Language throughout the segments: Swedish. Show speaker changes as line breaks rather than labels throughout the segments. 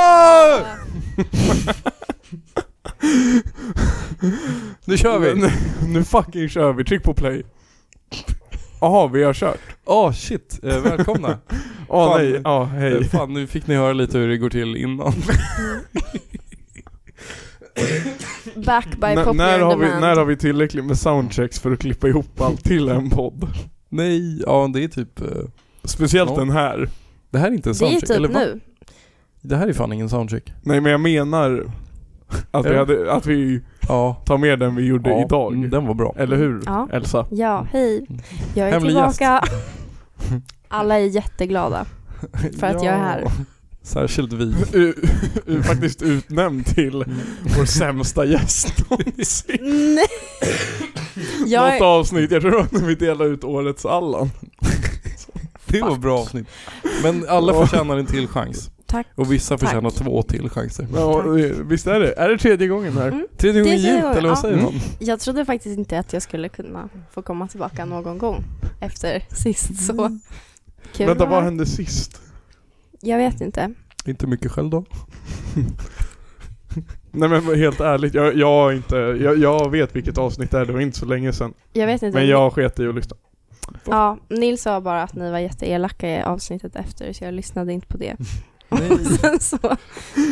Ah!
Nu kör vi!
Nu, nu fucking kör vi, tryck på play. Jaha, vi har kört.
Åh shit, eh, välkomna!
Åh
Fan.
Ah, nej, ja
Eh,
hej.
Fan, nu fick ni höra lite hur det går till innan.
Back by
N-
popular
när, har vi,
demand.
när har vi tillräckligt med soundchecks för att klippa ihop allt till en podd?
Nej, ja det är typ... eh,
Speciellt
Ja.
den här.
Det här är inte en
det är
soundcheck,
typ
va?
nu.
Det här är fan ingen soundcheck.
Nej men jag menar att vi,
Ja.
hade, att vi
Ja.
tar med den vi gjorde
ja,
idag.
mm, Den var bra.
Eller hur
Ja.
Elsa?
Ja, hej. Jag är
Hemlig gäst.
tillbaka. Alla är jätteglada för att jag är här.
Särskilt vi.
U- u- faktiskt utnämnd till vår sämsta gäst någonsin.
Nej. Jag
Något
är,
avsnitt, jag tror att vi delade ut årets Allan.
Det var ett bra avsnitt. Men alla
Ja.
förtjänar en till chans.
Tack.
Oh.
Och vissa
Tack.
förtjänar två till chanser.
Ja, visst är det? Är det tredje gången här?
Mm.
Tredje gången
Det säger
gillt,
jag,
eller vad
ja.
säger man?
Jag trodde faktiskt inte att jag skulle kunna få komma tillbaka någon gång efter sist så. Kul
Mm. Vänta,
att vara
vad
här.
hände sist?
Jag vet inte.
Inte mycket själv då.
Nej men helt ärligt, jag, jag, har inte, jag, jag vet vilket avsnitt det är, det var inte så länge sedan.
Jag vet inte.
Men jag sket i att lyssna.
Ja, Nils sa bara att ni var jätteelaka i avsnittet efter så jag lyssnade inte på det.
Nej.
Och sen så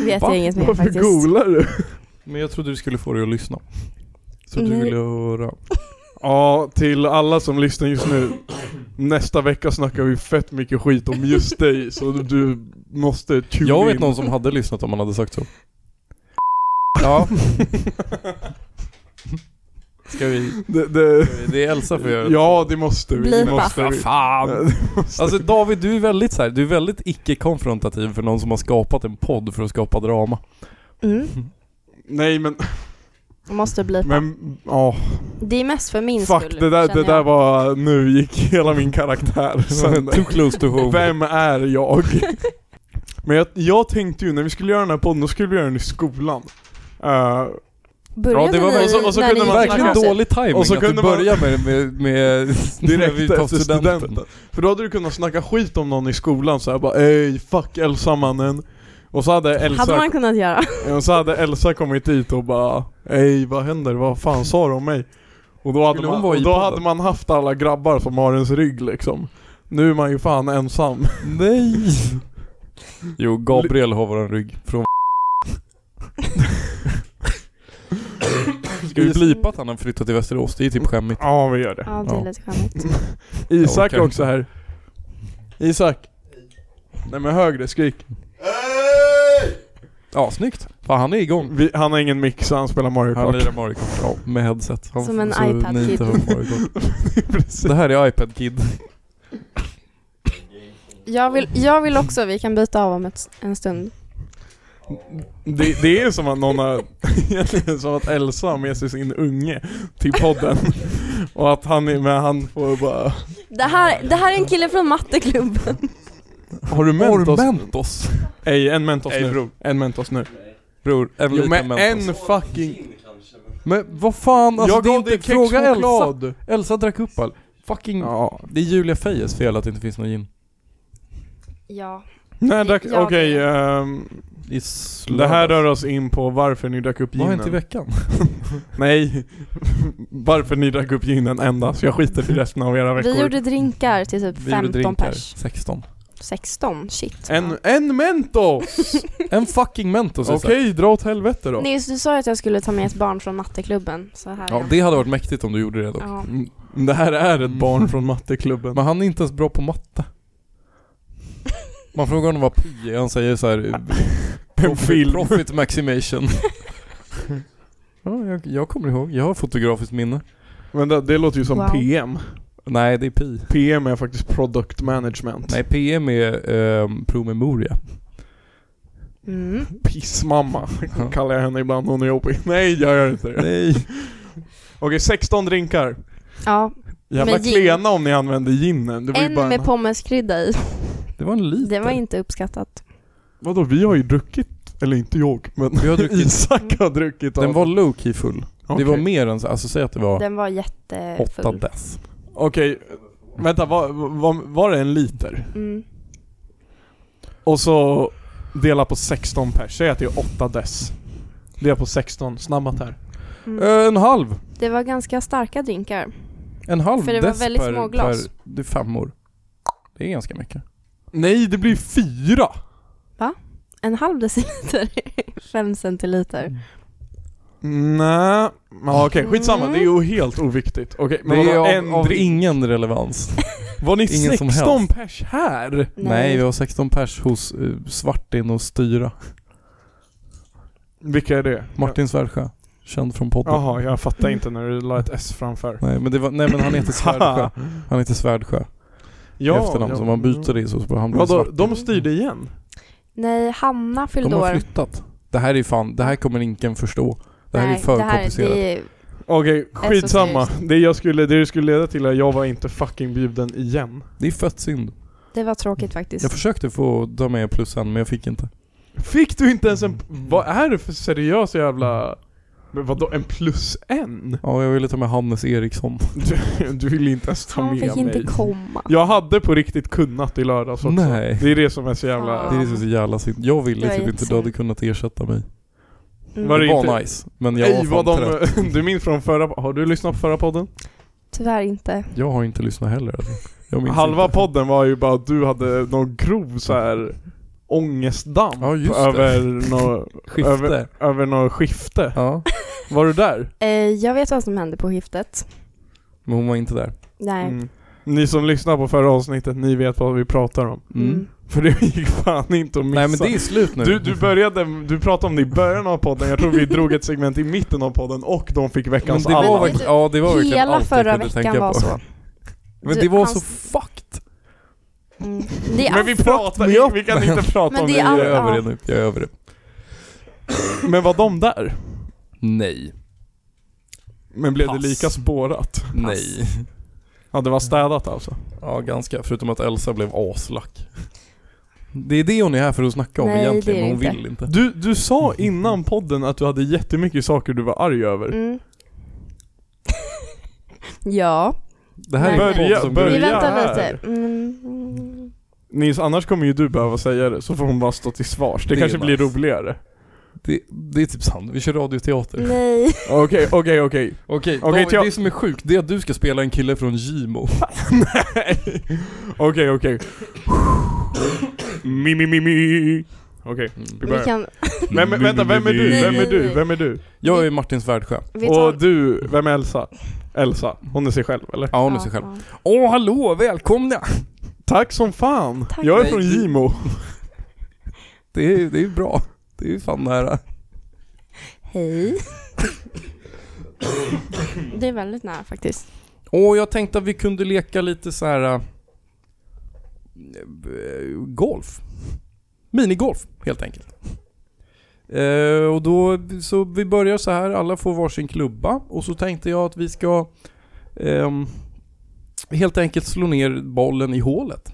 vet
Va?
jag inget mer
Varför
faktiskt.
googlar du?
Men jag trodde du skulle få dig att lyssna. Så du
Nej.
ville höra.
Ja, till alla som lyssnar just nu. Nästa vecka snackar vi fett mycket skit om just dig, så du måste tune
Jag vet
in.
någon som hade lyssnat om man hade sagt så. Ja. Ska vi...
Det, det,
Det är Elsa för jag...
ja, det måste vi.
Blipa.
Det måste
Vad
vi.
fan! Alltså David, du är väldigt så här, du är väldigt icke-konfrontativ för någon som har skapat en podd för att skapa drama.
Mm,
Nej men,
måste bli.
men ja.
Det är mest för min
Fuck,
skull.
det där,
känner
det där
jag.
var, nu gick hela min karaktär sönder.
Too close to home.
Vem är jag? Men jag, jag tänkte ju när vi skulle göra den här podden, då skulle vi göra den i skolan. Eh,
Började
Ja, det var
ni
väl- och
så- och så
när
kunde
ni
man-
gick i
Verkligen
gymnasiet?
dålig timing
Och så
att du
kunde man-
börjar med, med, med när vi
direkt
tar
efter studenten. För då hade du kunnat snacka skit om någon i skolan så jag bara ej, fuck Elsa mannen. Och så hade
Hade
Elsa,
man kunnat göra.
och så hade Elsa kommit dit och bara ej, vad händer? Vad fan sa de om mig? Och då hade,
Skulle hon
man,
vara i
och då
podden?
hade man haft alla grabbar som har ens rygg liksom. Nu är man ju fan ensam.
Nej! Jo, Gabriel har våran rygg från Ska vi blipa att han har flyttat till Västerås? Det är typ skämmigt.
Ja, vi gör det.
Ja, det är
Ja.
lite skämmigt.
Isak
Jag orkar
också här. Isak. Nej men högre, skrik.
Ja, snyggt. Fan, han är igång.
Vi, han har ingen mix, så han spelar Mario
Han
Kart.
lirar Mario Kart. Ja, med headset. Han,
Som en
så
iPad
ni inte
Kid.
hör Mario Kart. Det här är iPad Kid.
Jag vill, jag vill också, vi kan byta av om ett, en stund.
Det, det är som att någon har, egentligen som att Elsa har med sig sin unge till podden. Och att han är med, han får bara...
Det här, det här är en kille från matteklubben.
Har du Mentos?
Mentos. Mentos.
Ej, en Mentos
Ej,
nu.
bror.
En Mentos nu.
Bror, en
Jo,
liten
men
Mentos.
en fucking...
Men vad fan, alltså
jag
det är
gav dig
inte fråga Elsa.
kexchoklad!
Elsa drack upp all. Fucking...
Ja.
Det är Julia Fejes fel att det inte finns någon gin.
Ja.
Nej, drack...
Jag-
Okej, ehm,
I
det här rör oss in på varför ni drack upp
Vad har hänt i
ginen.
Typ
veckan?
Nej, varför ni drack upp ginen endast. Jag skiter i resten av era veckor.
Vi gjorde drinkar till typ
Vi gjorde
15
drinkar.
pers.
16.
16, shit.
En, en Mentos!
En fucking Mentos
Okej,
Isak.
dra åt helvete då.
Nils, du sa ju att jag skulle ta med ett barn från matteklubben. Så här
Ja, det hade varit mäktigt om du gjorde det dock.
ja.
Mm, Det här är
Mm.
ett barn från matteklubben.
Men han är inte ens bra på matte. Man frågar honom vad pi är, han säger så här.
En film.
Profit maximation. ja, jag, jag kommer ihåg, jag har fotografiskt minne.
Men det, det låter ju som
Wow.
PM.
Nej, det är pi.
PM är faktiskt product management.
Nej, PM är ehm, promemoria.
Mm.
Pissmamma
Ja.
kallar jag henne ibland, hon är jobbig. Nej, jag gör inte det.
Nej.
Okej, 16 drinkar.
ja.
Jävla
Med gin.
klena om ni använder ginen. Det var ju
En
bara
med pommeskrydda i.
Det var en liter.
Det var inte uppskattat.
Vadå, vi har ju druckit. Eller inte jag, men
Vi har druckit-
Isak har druckit.
Den
av-
var low key full.
Okej.
Det var mer än så, alltså säg att det var
Den var jättefull.
åtta dess.
Okej, vänta, var, var, var det en liter?
Mm.
Och så Dela på 16 pers, säg att det är 8 dess. Dela på 16, snabbt här.
Mm.
Eh, en halv.
Det var ganska starka drinkar.
En halv
För det var
dess
väldigt
per,
små glas.
Per, det är femmor. Det är ganska mycket.
Nej, det blir fyra!
En halv deciliter, fem centiliter.
Nej, ja, okej skitsamma,
Mm.
det är ju helt oviktigt. Okej, men
det är
vadå,
av,
en
av
drink?
ingen relevans.
Var ni
ingen som
16
helst.
pers här?
Nej. vi har 16 pers hos eh, Svartin och Styra.
Vilka är det?
Martin Svärdsjö. Känd från podden.
Jaha, jag fattar inte när du la ett S framför.
Nej men, det var, nej men han heter Svärdsjö. Han heter Svärdsjö. Ja, efternamn. Så om man byter det så blir han blir
Vadå,
svart.
de styrde igen?
Nej, Hanna
De
fyllde
har
år.
flyttat. Det här är ju fan, det här kommer ingen förstå. Det här är
Nej,
ju för
det här-
komplicerat.
det är-
Okej, skitsamma.
så
Det, jag skulle, det skulle leda till är att jag var inte fucking bjuden igen.
Det är fett synd.
Det var tråkigt faktiskt.
Jag försökte få ta med plus en men jag fick inte.
Fick du inte ens en...
Mm.
Vad är det för seriös jävla... Men vadå, en plus en?
Ja, jag ville ta med Hannes Eriksson.
Du, du vill inte ens ta
Han
med
fick
mig.
inte komma.
Jag hade på riktigt kunnat i lördags också.
Nej.
Det är det som är så jävla...
Det är liksom så jävla synd. Jag ville
Det var
typ inte du
jättesynd.
hade kunnat ersätta mig.
Mm.
Var
Det
det
var
inte-
nice, men jag
Ej,
var
vad
fan trött.
de, du minns från förra... Har du lyssnat på förra podden?
Tyvärr inte.
Jag har inte lyssnat heller. Alltså. Jag minns
Halva
inte.
podden var ju bara att du hade någon grov så här ångestdamp
Ja, just det.
över något
Skifte.
Över, över något skifte.
Ja,
Var du där?
Eh, jag vet vad som hände på skiftet.
men hon var inte där.
Nej.
Mm. Ni som lyssnar på förra avsnittet, ni vet vad vi pratar om.
Mm.
Mm.
För det gick fan inte att missa.
Nej men det är slut nu.
du, du började, du pratade om det i början av podden, jag tror vi drog ett segment i mitten av podden och de fick
men
veckans
det var
alla.
verkligen, ja det var verkligen
Hela
allt jag
förra
kunde
veckan
tänka
var
på.
så.
Men
Du,
det var
han-
så fucked.
Mm. Det är
Men vi
allt-
pratar
mig
inte,
upp.
vi kan inte prata
Men
om
det
det.
är
Jag är
Ja.
över det nu, jag är över det.
Men var de där?
Nej.
Men blev
Pass.
det lika spårat?
Nej.
Ja det var städat alltså.
Ja, ganska. Förutom att Elsa blev aslack. Det är det hon är här för att snacka om
Nej,
egentligen,
det
men
är
hon
det inte.
vill inte.
Du, du sa innan podden att du hade jättemycket saker du var arg över.
Mm. ja.
Det här är
Nej,
en podd
börja-
som
börja-
går
Vi
ut.
väntar
här.
lite. Mm.
Nils, annars kommer ju du behöva säga det, så får hon bara stå till svars. Det,
Det är
kanske blir
nice.
roligare.
Det, det är typ sant, vi kör radioteater. Okej,
Nej.
Okej, okej, okej.
okay,
Okej, till-
det som är sjukt, det är att du ska spela en kille från Gimo.
Nej. Okej, okej. Mi, mi, mi, mi. Okej. Vi
Vi
börjar.
kan...
Vem, vänta, vem är du? Vem är du? Vem är du?
Jag är Martin Svärdsjö.
Vi tar...
Och du, vem är Elsa? Elsa, hon är sig själv eller?
Ja, hon är sig själv. Åh, hallå, välkomna!
Tack som fan!
Tack.
Jag är
Nej,
från
du-
Gimo.
Det är, det är bra. Det är ju fan nära.
Hej. det är väldigt nära faktiskt.
Åh, jag tänkte att vi kunde leka lite så här... eh, golf. Minigolf, helt enkelt. Eh, och då, så vi börjar så här, alla får varsin klubba och så tänkte jag att vi ska ehm, helt enkelt slå ner bollen i hålet.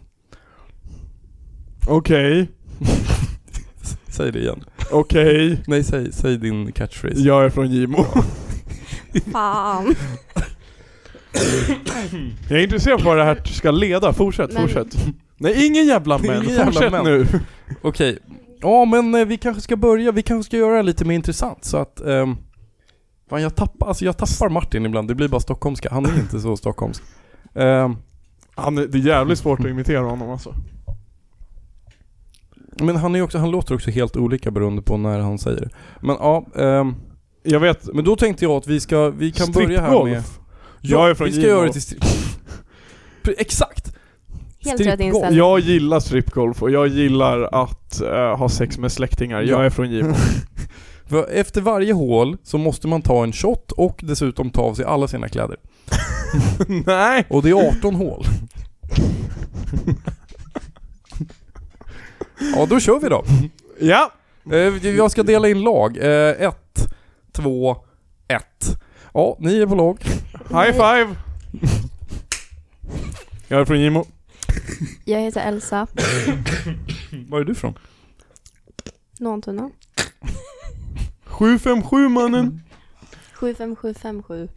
Okej,
Säg det igen.
okej.
Nej, säg, säg din catchphrase.
Jag är från Gimo.
Fan.
Jag är intresserad av vad det här ska leda. Fortsätt,
Men-
fortsätt. Nej, ingen jävla
Ingen
men.
jävla
Fortsätt
men.
nu.
Okej. Ja, men eh, vi kanske ska börja. Vi kanske ska göra det lite mer intressant så att... ehm, fan, jag tappar, alltså jag tappar Martin ibland. Det blir bara stockholmska. Han är inte så stockholmsk. Ehm,
Han, är- det är jävligt svårt att imitera honom alltså.
men han, är ju också, han låter också helt olika beroende på när han säger det. Men ja, ehm,
Jag vet,
men då tänkte jag att vi ska... Vi kan börja här
Strippgolf.
med...
Jag är från
Vi ska
Gimo.
göra det till strip... Pre- Exakt!
Helt
Strippgolf.
rätt inställning.
jag gillar stripgolf och jag gillar att eh, ha sex med släktingar. Jag
Ja.
är från Gimo.
För efter varje hål så måste man ta en shot och dessutom ta av sig alla sina kläder.
Nej!
Och det är 18 hål. Ja, då kör vi då.
Ja!
Eh, Jag ska dela in lag. Eh, Ett, två, ett. Ja, ni är på lag.
High five! Jag är från Gimo.
Jag heter Elsa
Var är du från?
Nåntuna.
757 mannen.
75757.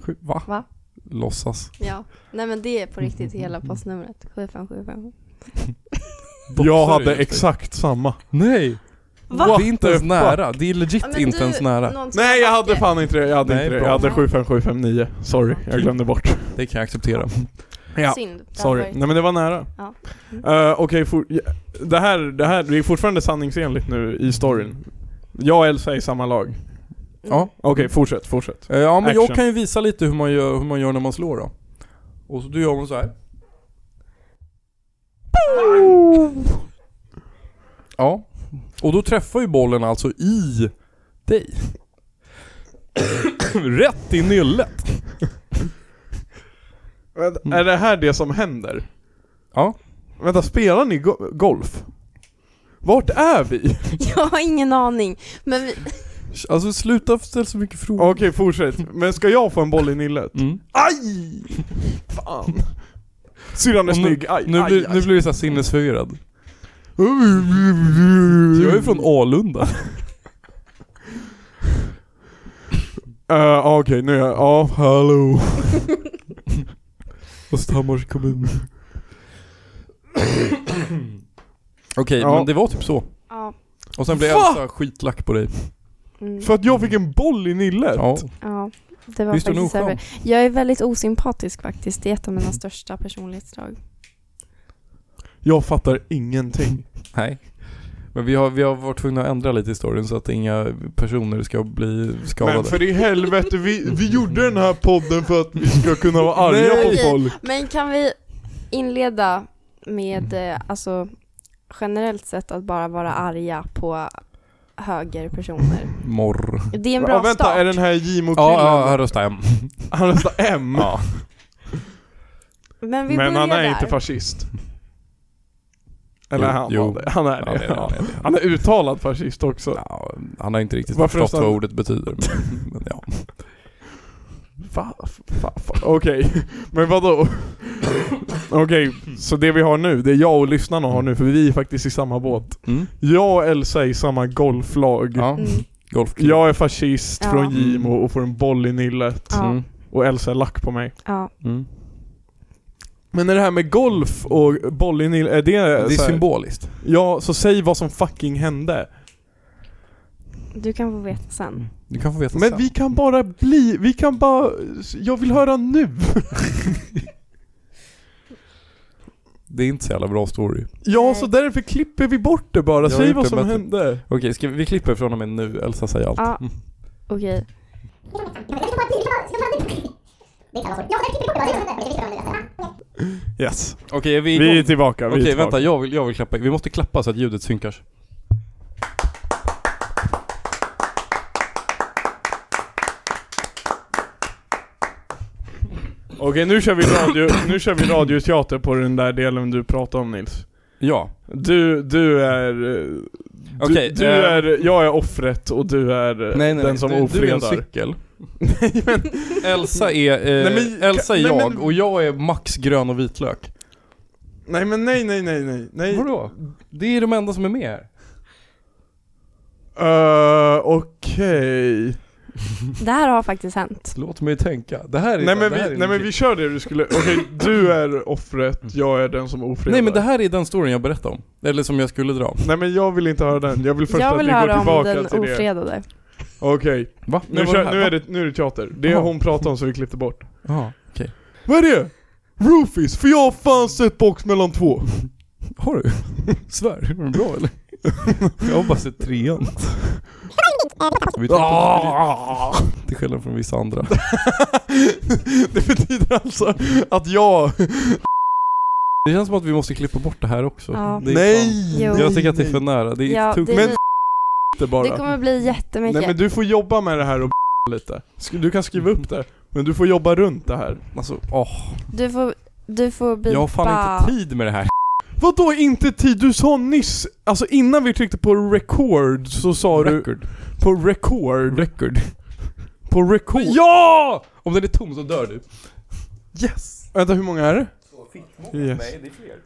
Sju- Va?
Va?
Låtsas.
Ja. Nej men det är på riktigt hela postnumret. 75757.
Jag
Boxar
hade
just nu.
exakt samma.
Nej!
Va?
Det är inte
the
ens
fuck?
nära. Det är legit
Ja, men
inte
du-
ens nära.
någon som
Nej jag
har
hade
vacker.
fan inte det, jag hade
Nej,
inte det. Jag hade
bra.
75759. Sorry, jag glömde bort.
Det kan jag acceptera.
Ja.
Synd. Det hade
Sorry.
varit-
Nej men det var nära.
Ja. Mm.
Eh, Okej, for- ja, det, här, det här, det är fortfarande sanningsenligt nu i storyn. Jag och Elsa är i samma lag.
Mm.
Ja.
Okej, fortsätt, fortsätt.
Eh, Ja men
Action.
jag kan ju visa lite hur man gör, hur man gör när man slår då. Och så du gör man så här. Ja. Och då träffar ju bollen alltså i dig. Rätt i nyllet.
Men Är det här det som händer?
Ja.
Vänta, spelar ni go- golf? Vart är vi?
Jag har ingen aning. Men vi...
Alltså sluta ställa så mycket frågor.
Okej, fortsätt. Men ska jag få en boll i nillet?
Mm.
Aj! Fan. Syrran är
Och
snygg, aj,
Nu,
aj,
blir,
aj.
nu blir du såhär sinnesförvirrad. Jag är
Mm.
från Alunda.
Eh, Okej, nu är jag... Ja, hallå.
Östhammars kommun. Okej,
Ja.
men det var typ så.
Ja.
Och sen blev
Va?
Elsa skitlack på dig.
Mm.
För att jag fick en boll i nillet?
Ja.
Ja, det var
Visst är hon
faktiskt
oskön?
över. Jag är väldigt osympatisk faktiskt. Det är ett av mina största personlighetsdrag.
Jag fattar ingenting.
Nej. Men vi har, vi har varit tvungna att ändra lite i storyn så att inga personer ska bli skadade.
Men för i helvete, vi, vi gjorde den här podden för att vi ska kunna vara arga
Nej.
på folk.
Men kan vi inleda med
Mm.
eh, alltså generellt sett att bara vara arga på högerpersoner.
Morr.
Det är en bra
Ja, vänta,
start.
är den här Jimo killen?
Ja, ja, här röstar jag.
Han röstar M.
Ja.
Men
Men
vi börjar
han är
där.
inte fascist. Eller
Jo,
han
jo.
var det. Han är
Ja, det
det.
är
Ja.
han, det är han.
Han är uttalad fascist också.
Ja, han har inte riktigt
Varför
förstått
röstar han?
vad ordet betyder. Men, men ja.
Va? Va? Va? Okej, men vadå? Okej, så det vi har nu, det jag och lyssnarna har nu, för vi är faktiskt i samma båt.
Mm.
Jag och Elsa är i samma golflag.
ja.
Mm.
Golfklubb.
Jag är fascist
Ja.
från Gimo och får en boll i nillet.
Ja,
Mm.
Och Elsa är lack på mig.
ja.
Mm.
Men när det här med golf och boll i nillet, är det,
Det är
så här-
symboliskt.
Ja, så säg vad som fucking hände.
Du kan få veta
Mm.
sen.
Du kan få veta
Men
sen.
vi kan bara bli, vi kan bara, jag vill höra nu.
Det är inte så jävla bra story.
Ja,
Nej.
så därför klipper vi bort det bara.
Jag har
säg
gjort
vad
det typ
som
bättre.
hände.
Okej, ska vi, vi klipper från och med nu. Elsa säger allt.
Ja. Okej.
Yes.
Okej, är vi igång?
Vi är tillbaka, vi
Okej,
är tillbaka.
vänta. Jag vill, jag vill klappa. Vi måste klappa så att ljudet synkar.
Okej, nu kör vi radio, nu kör vi radioteater på den där delen du pratade om Nils.
Ja.
Du, du är... eh, Du,
Okej,
du
eh,
är, jag är offret och du är eh, den som
du, du är en
ofredar.
cykel. Elsa är, eh,
Nej, men-
Elsa är
nej,
jag
men-
och jag är Max grön och vitlök.
nej men nej nej nej nej. nej.
Vadå? Det är de enda som är med här.
Eh, Okej.
Det här har faktiskt hänt.
Låt mig tänka. Det här är
Nej men
det här är
vi, nej men vi kör det du skulle, okej du är offret, jag är den som ofredar.
Nej men det här är den storyn jag berättade om. Eller som jag skulle dra.
Nej men jag vill inte höra den, jag vill först
Jag
att
vill
vi går
höra om
tillbaka
den
till det.
ofredade.
Okej,
Va?
nu,
var
kör,
här,
nu,
va?
är det, nu är det teater. Det
Jaha.
hon pratade om som vi klippte bort.
Ja, okej.
Vad är det? Roofies, för jag har fan sett box mellan två.
Har du? Svär. Var den bra eller? jag har bara sett trean. Vi tyckte-
Ah!
Till skillnad från vissa andra.
det betyder alltså att jag...
Det känns som att vi måste klippa bort det här också.
Ja.
Det är fan-
Jo.
Jag tycker att det är för nära. Det är
Ja,
tugg-
det,
Men det
det
bara.
kommer bli jättemycket.
Nej men du får jobba med det här och lite. Sk- Du kan skriva upp det, men du får jobba runt det här.
Alltså, åh.
Du får, du får bipa...
Jag har fan inte tid med det här.
Vadå inte tid? Du sa nyss, alltså innan vi tryckte på record så sa
Record.
du på record.
Record.
På record.
Ja! Om den är tom så dör du.
Yes! Vänta hur många är det? Yes.
Nej, det är fler.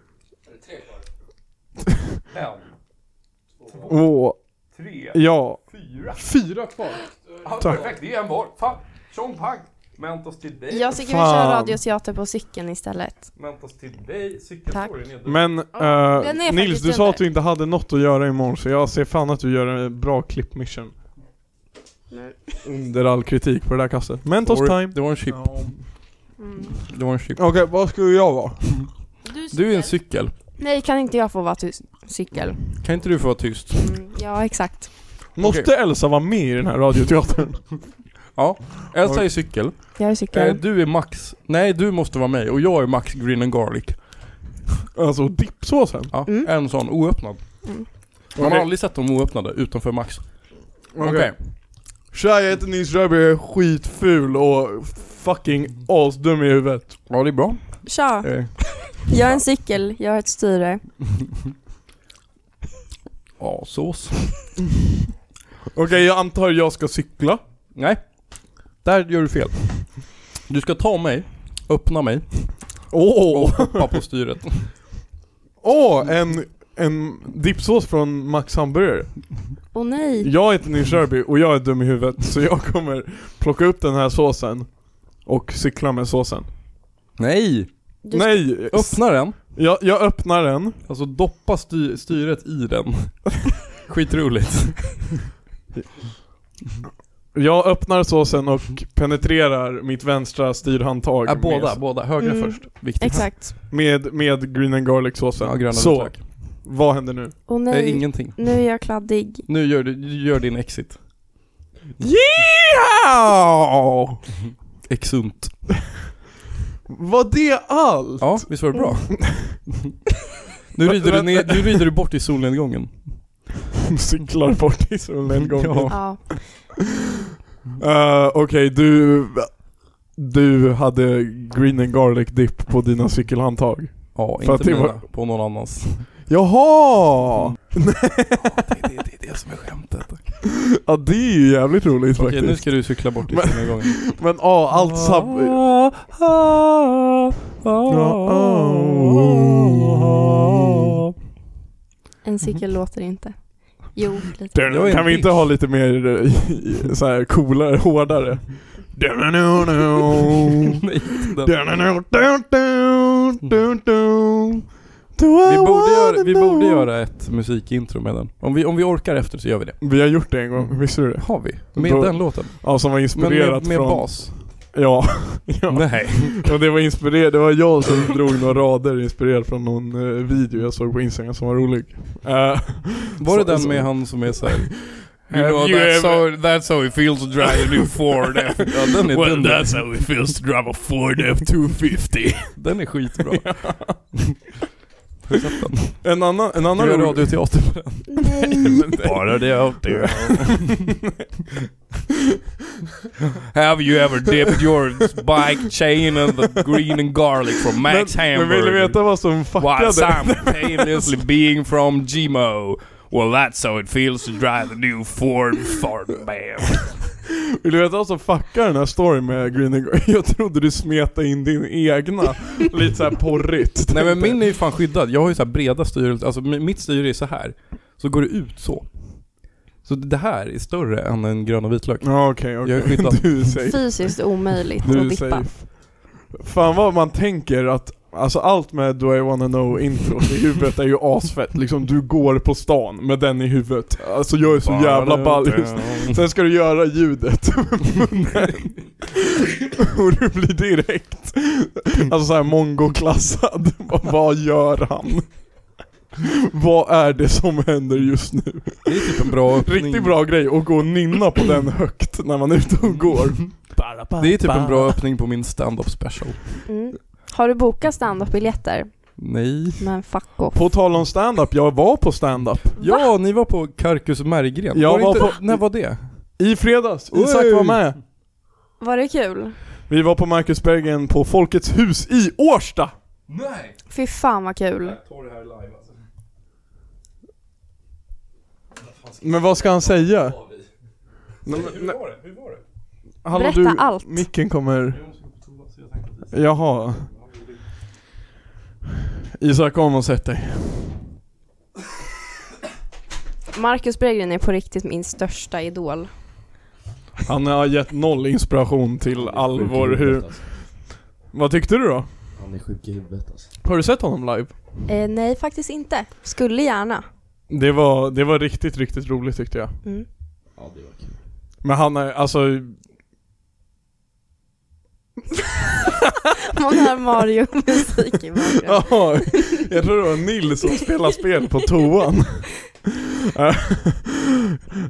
Tre kvar. en,
Åh,
tre,
ja.
fyra.
Fyra kvar.
Ja,
Tack.
perfekt, det är en var. Fan, tjong pang. Mentos till dig.
Jag tycker vi
Fan.
kör radioteater på cykeln istället.
Mentos till dig.
Cykeltorg
Men eh,
den är
Nils,
faktiskt
du sa
under.
att du inte hade något att göra imorgon så jag ser fan att du gör en bra klippmission. Under all kritik på det där kastet. Mentos time.
Det var en chip.
Mm.
Det var en chip.
Okej, vad skulle jag vara?
Du är en cykel.
Nej, kan inte jag få vara ty- cykel?
Kan inte du få vara tyst?
Mm, ja, exakt.
Måste Elsa vara med i den här radioteatern?
Elsa är cykel.
Jag är
Eh,
cykel.
Du är Max. Nej, du måste vara mig och jag är Max Green and Garlic.
Alltså dippsåsen?
Ja,
Mm.
en sån oöppnad.
Mm.
Man har
Okej.
aldrig sett dem oöppnade utanför Max. Okej.
Tja, jag heter Nils Röby, jag är skitful och fucking asdum i huvudet.
Ja, det är bra.
Tja,
Eh,
jag är en cykel, jag har ett styre.
Ja, sås.
Okej, jag antar jag ska cykla.
Nej. Där gör du fel. Du ska ta mig, öppna mig
Åh!
och
Oh.
hoppa på styret.
Åh, en, en dippsås från Max Hamburgare.
Åh nej.
Jag heter Nils Röby och jag är dum i huvudet så jag kommer plocka upp den här såsen och cykla med såsen.
Nej!
Du ska-
Nej! s-
Öppna den.
Jag, jag öppnar den.
Alltså doppa sty- styret i den. Skitroligt.
Jag öppnar såsen och penetrerar mitt vänstra styrhandtag
Ja, Äh, båda,
med,
båda. Högra
Mm.
först. Viktigt.
Exakt.
med, med green and garlic
Ja,
såsen.
gröna
så,
vitlök.
vad händer nu?
Åh
Nej,
nej.
ingenting.
Nu är jag kladdig.
Nu gör du, du gör din exit.
Yeah!
Exunt.
Var det allt?
Ja, visst var det bra? nu, rider du ner, nu rider du bort i solnedgången.
Cyklar bort i solen en gång.
Ja.
Ja.
Eh, Okej, du... Du hade green and garlic dip på dina cykelhandtag.
Ja,
För att
inte
det
mina,
var-
på någon annans.
Jaha!
Det, det, det är det som är skämtet. Okej,
Ja det är ju jävligt roligt
nu
faktiskt.
ska du cykla bort i
Men-
solnedgången.
Men ja, allt sam...
En cykel låter inte. Jo, lite.
Jag är en
Kan vi inte
bitch.
ha lite mer eh, så här coolare, hårdare?
Nej, inte den. Vi borde, göra, vi borde göra ett musikintro med den. Om vi, om vi orkar efter så gör vi det.
Vi har gjort det en gång, visste du det?
Har vi? Med
Då-
den låten?
Ja, som var
Men
inspirerat
med, med
från...
bas?
Ja. ja.
Nej.
Och det var inspirerat, det var jag som drog några rader inspirerat från någon eh, video jag såg på Instagram som var rolig. Eh,
Var det
Så- så-
den med han som är såhär...
Have you ever-
how, that's how it feels to drive a new Ford F.
Ja, den är
well,
dum.
that's how it feels to drive a Ford F250.
Den är skitbra.
en annan, en
Du
annan
gör
rolig-
radioteater på den.
Nej.
Bara det out there. Have you ever dipped your bike chain in the green and garlic from Max
men, men
Hamburger?
vill du veta vad som
While
fuckade?
simultaneously being from GMO. Well, that's how it feels to drive the new Ford Ford Man.
Vill du veta vad som fuckade den här storyn med Green and Garlic? Jag trodde du smetade in din egna, lite såhär porrigt.
Nej men min är ju fan skyddad. Jag har ju så här breda styre, alltså mi- mitt styre är så här. Så går det ut så. Så det här är större än en grön och vitlök.
Ja okej, okej.
Jag är skyddad.
Du är safe.
Fysiskt omöjligt
Du
att
är
dippa.
safe. Fan vad man tänker att, alltså allt med Do I wanna know introt i huvudet är ju asfett. Liksom du går på stan med den i huvudet. Alltså jag är så jävla ball just nu. Sen ska du göra ljudet med munnen. Och du blir direkt, alltså såhär mongoklassad. Vad- Vad gör han? Vad är det som händer just nu?
Det är typ en bra öppning.
Riktigt bra grej att gå och nynna på den högt när man är ute och går.
Det är typ en bra öppning på min stand-up special.
Mm. Har du bokat standup-biljetter?
Nej.
Men fuck off.
På tal om stand-up, jag var på stand-up.
Ja, ni var på Karkus Märgren.
Jag
det
var
inte,
på-
När var det?
I fredags, Isak
Oj.
var med.
Var det kul?
Vi var på Marcus Bergen på Folkets hus i Årsta.
Nej!
Fy fan vad kul.
tar det här live alltså.
Men vad ska han säga? Nej, men- nej,
var det? Hur var det?
hallå,
Berätta allt.
Micken kommer... Jaha. Isak, kom och sätt dig.
Marcus Berggren är på riktigt min största idol.
Han har gett noll inspiration till all vår hur...
Alltså.
Vad tyckte du då?
Han är sjuk i huvudet alltså.
Har du sett honom live?
Eh, nej, faktiskt inte. Skulle gärna.
Det var, det var riktigt, riktigt roligt tyckte jag.
Mm.
Ja det var kul.
Men han är, alltså...
Man hör Mario-musik i bakgrunden.
Ja, jag tror det var Nils som spelade spel på toan. Eh,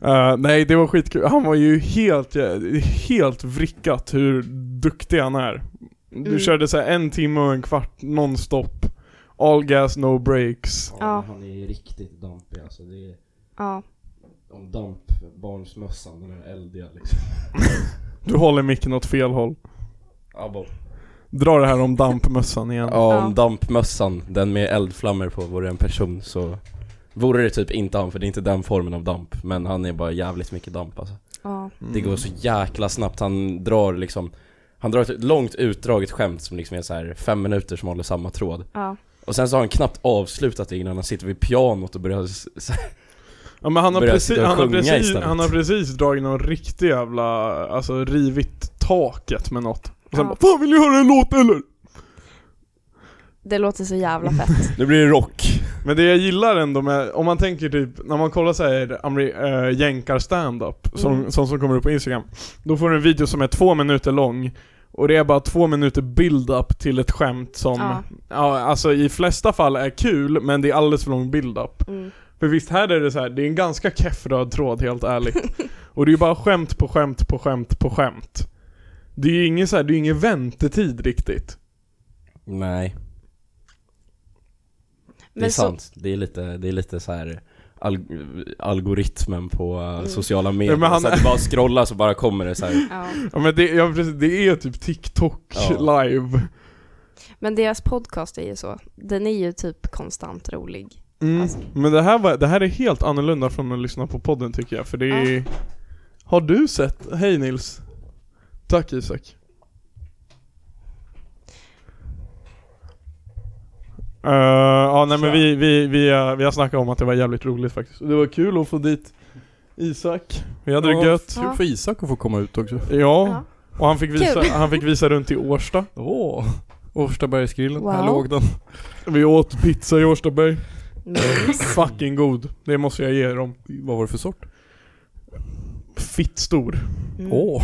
eh, nej, det var skitkul. Han var ju helt, jä- helt vrickat hur duktig han är. Du
Mm.
körde så här en timme och en kvart nonstop. All gas, no breaks.
Ja,
Ja.
men Han är riktigt dampig alltså. Det är
Ja.
om dampbarnsmössan, den där eldiga liksom.
Du håller micken åt fel håll.
Abo.
Dra det här om dampmössan igen.
Ja.
Ja, om dampmössan, den med eldflammor på, vore en person så vore det typ inte han, för det är inte den formen av damp. Men han är bara jävligt mycket damp alltså.
ja.
Mm.
Det går så jäkla snabbt, han drar liksom han drar ett långt utdraget skämt som liksom är så här fem minuter som håller samma tråd.
Ja.
Och sen så har han knappt avslutat det innan han sitter vid pianot och börjar s- s-
Ja men han har,
Börjar
precis,
sitta och
han, har
sjunga
precis,
istället.
han har precis dragit någon riktig jävla, alltså rivit taket med något. Och sen
Ja.
bara 'Fan vill ni höra en låt eller?'
Det låter så jävla fett.
Nu blir det rock!
Men det jag gillar ändå med, om man tänker typ, när man kollar såhär äh, jänkar stand-up, som,
Mm.
som, som kommer upp på Instagram Då får du en video som är två minuter lång och det är bara två minuter build-up till ett skämt som, ja.
Ja.
alltså i flesta fall är kul, men det är alldeles för lång build-up
Mm.
För visst här är det så här, det är en ganska keff röd tråd helt ärligt Och det är ju bara skämt på skämt på skämt på skämt Det är ju ingen så här, det är ju ingen väntetid riktigt
Nej, det är
Men så,
sant. Det är lite, det är lite så här alg- algoritmen på eh, sociala medier.
men han-
Så att du bara scrollar så bara kommer det så här.
ja.
Ja men det, ja, precis, det är typ TikTok
Ja.
live
Men deras podcast är ju så. Den är ju typ konstant rolig.
Mm.
Alltså-
Men det här, var, det här är helt annorlunda från att lyssna på podden tycker jag, för det är... Har du sett? Hej Nils. Tack Isak. Eh, ja nej men vi, vi, vi, eh, vi har snackat om att det var jävligt roligt faktiskt. Och Det var kul att få dit Isak. Vi hade det gött.
Kul för Isak att få komma ut också.
Ja.
Ja.
Och han fick, visa,
Kul.
han fick visa runt i Årsta.
Åh. Årstabergsgrillen, här
Wow.
låg den.
Vi åt pizza i Årstaberg.
Men,
Fucking god. Det måste jag ge dem.
Vad var det för sort?
Fitt stor.
mm.
Åh.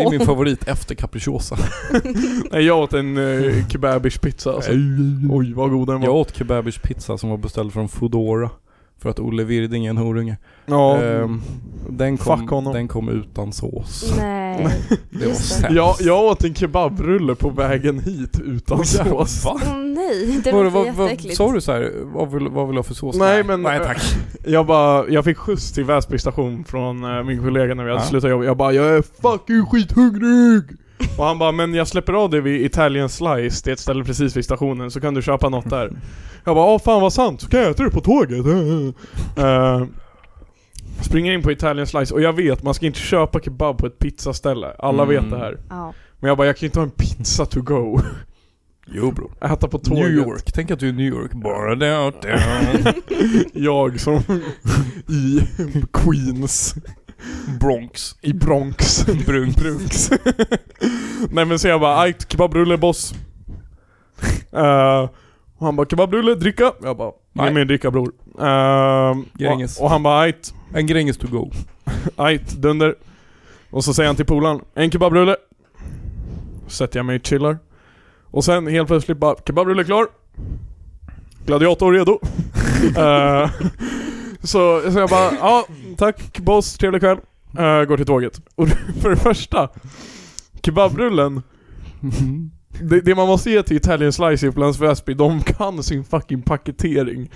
Det är min favorit efter capricciosa.
Nej jag åt en eh, kebabish pizza alltså. Oj vad god den var.
Jag åt kebabish pizza som var beställd från Foodora För att Olle Wirding är en horunge.
Ja.
Ehm, den,
Fuck
kom,
honom.
den kom utan sås.
Nej.
Det var
Just det.
sämst.
jag, jag åt en kebabrulle på vägen hit utan sås.
Va?
Åh nej, det
Var,
låter
var, var,
jätteäckligt.
sa du så här, vad vill, vad vill du ha för sås?
Nej, men-
Nej tack.
Jag bara, jag fick skjuts till Väsby station från eh, min kollega när vi hade
Ja.
slutat jobba. Jag bara 'Jag är fucking skithungrig' Och han bara 'Men jag släpper av dig vid Italian Slice, det är ett ställe precis vid stationen, så kan du köpa något där' Jag bara 'Åh fan vad sant, så kan jag äta det på tåget' Eh, Springer in på Italian Slice, och jag vet, man ska inte köpa kebab på ett pizzaställe. Alla
Mm.
vet det här.
Ja.
Men jag bara, jag kan ju inte ha en pizza to go.
Jo bro.
Äta på tåget.
New York, tänk att du är i New York. Bara där, där.
Jag som i Queens.
Bronx.
I Bronx.
Brunk.
Brunks. Nej men så jag bara, ajt kebabrulle boss. Eh, och han bara, kebabrulle, dricka. Jag bara, ge
Nej.
mig en dricka bror. Eh,
Gränges.
och, och han bara, ajt,
En Gränges to go.
ajt, dunder. Och så säger han till polaren, en kebabrulle. Sätter jag mig och chillar. Och sen helt plötsligt bara, kebabrulle klar. Gladiator redo. Eh, så, så jag bara, ja tack boss, trevlig kväll. Eh, går till tåget. Och för det första, kebabrullen, Mm. det, det man måste ge till Italian Slice i Upplands Väsby, de kan sin fucking paketering.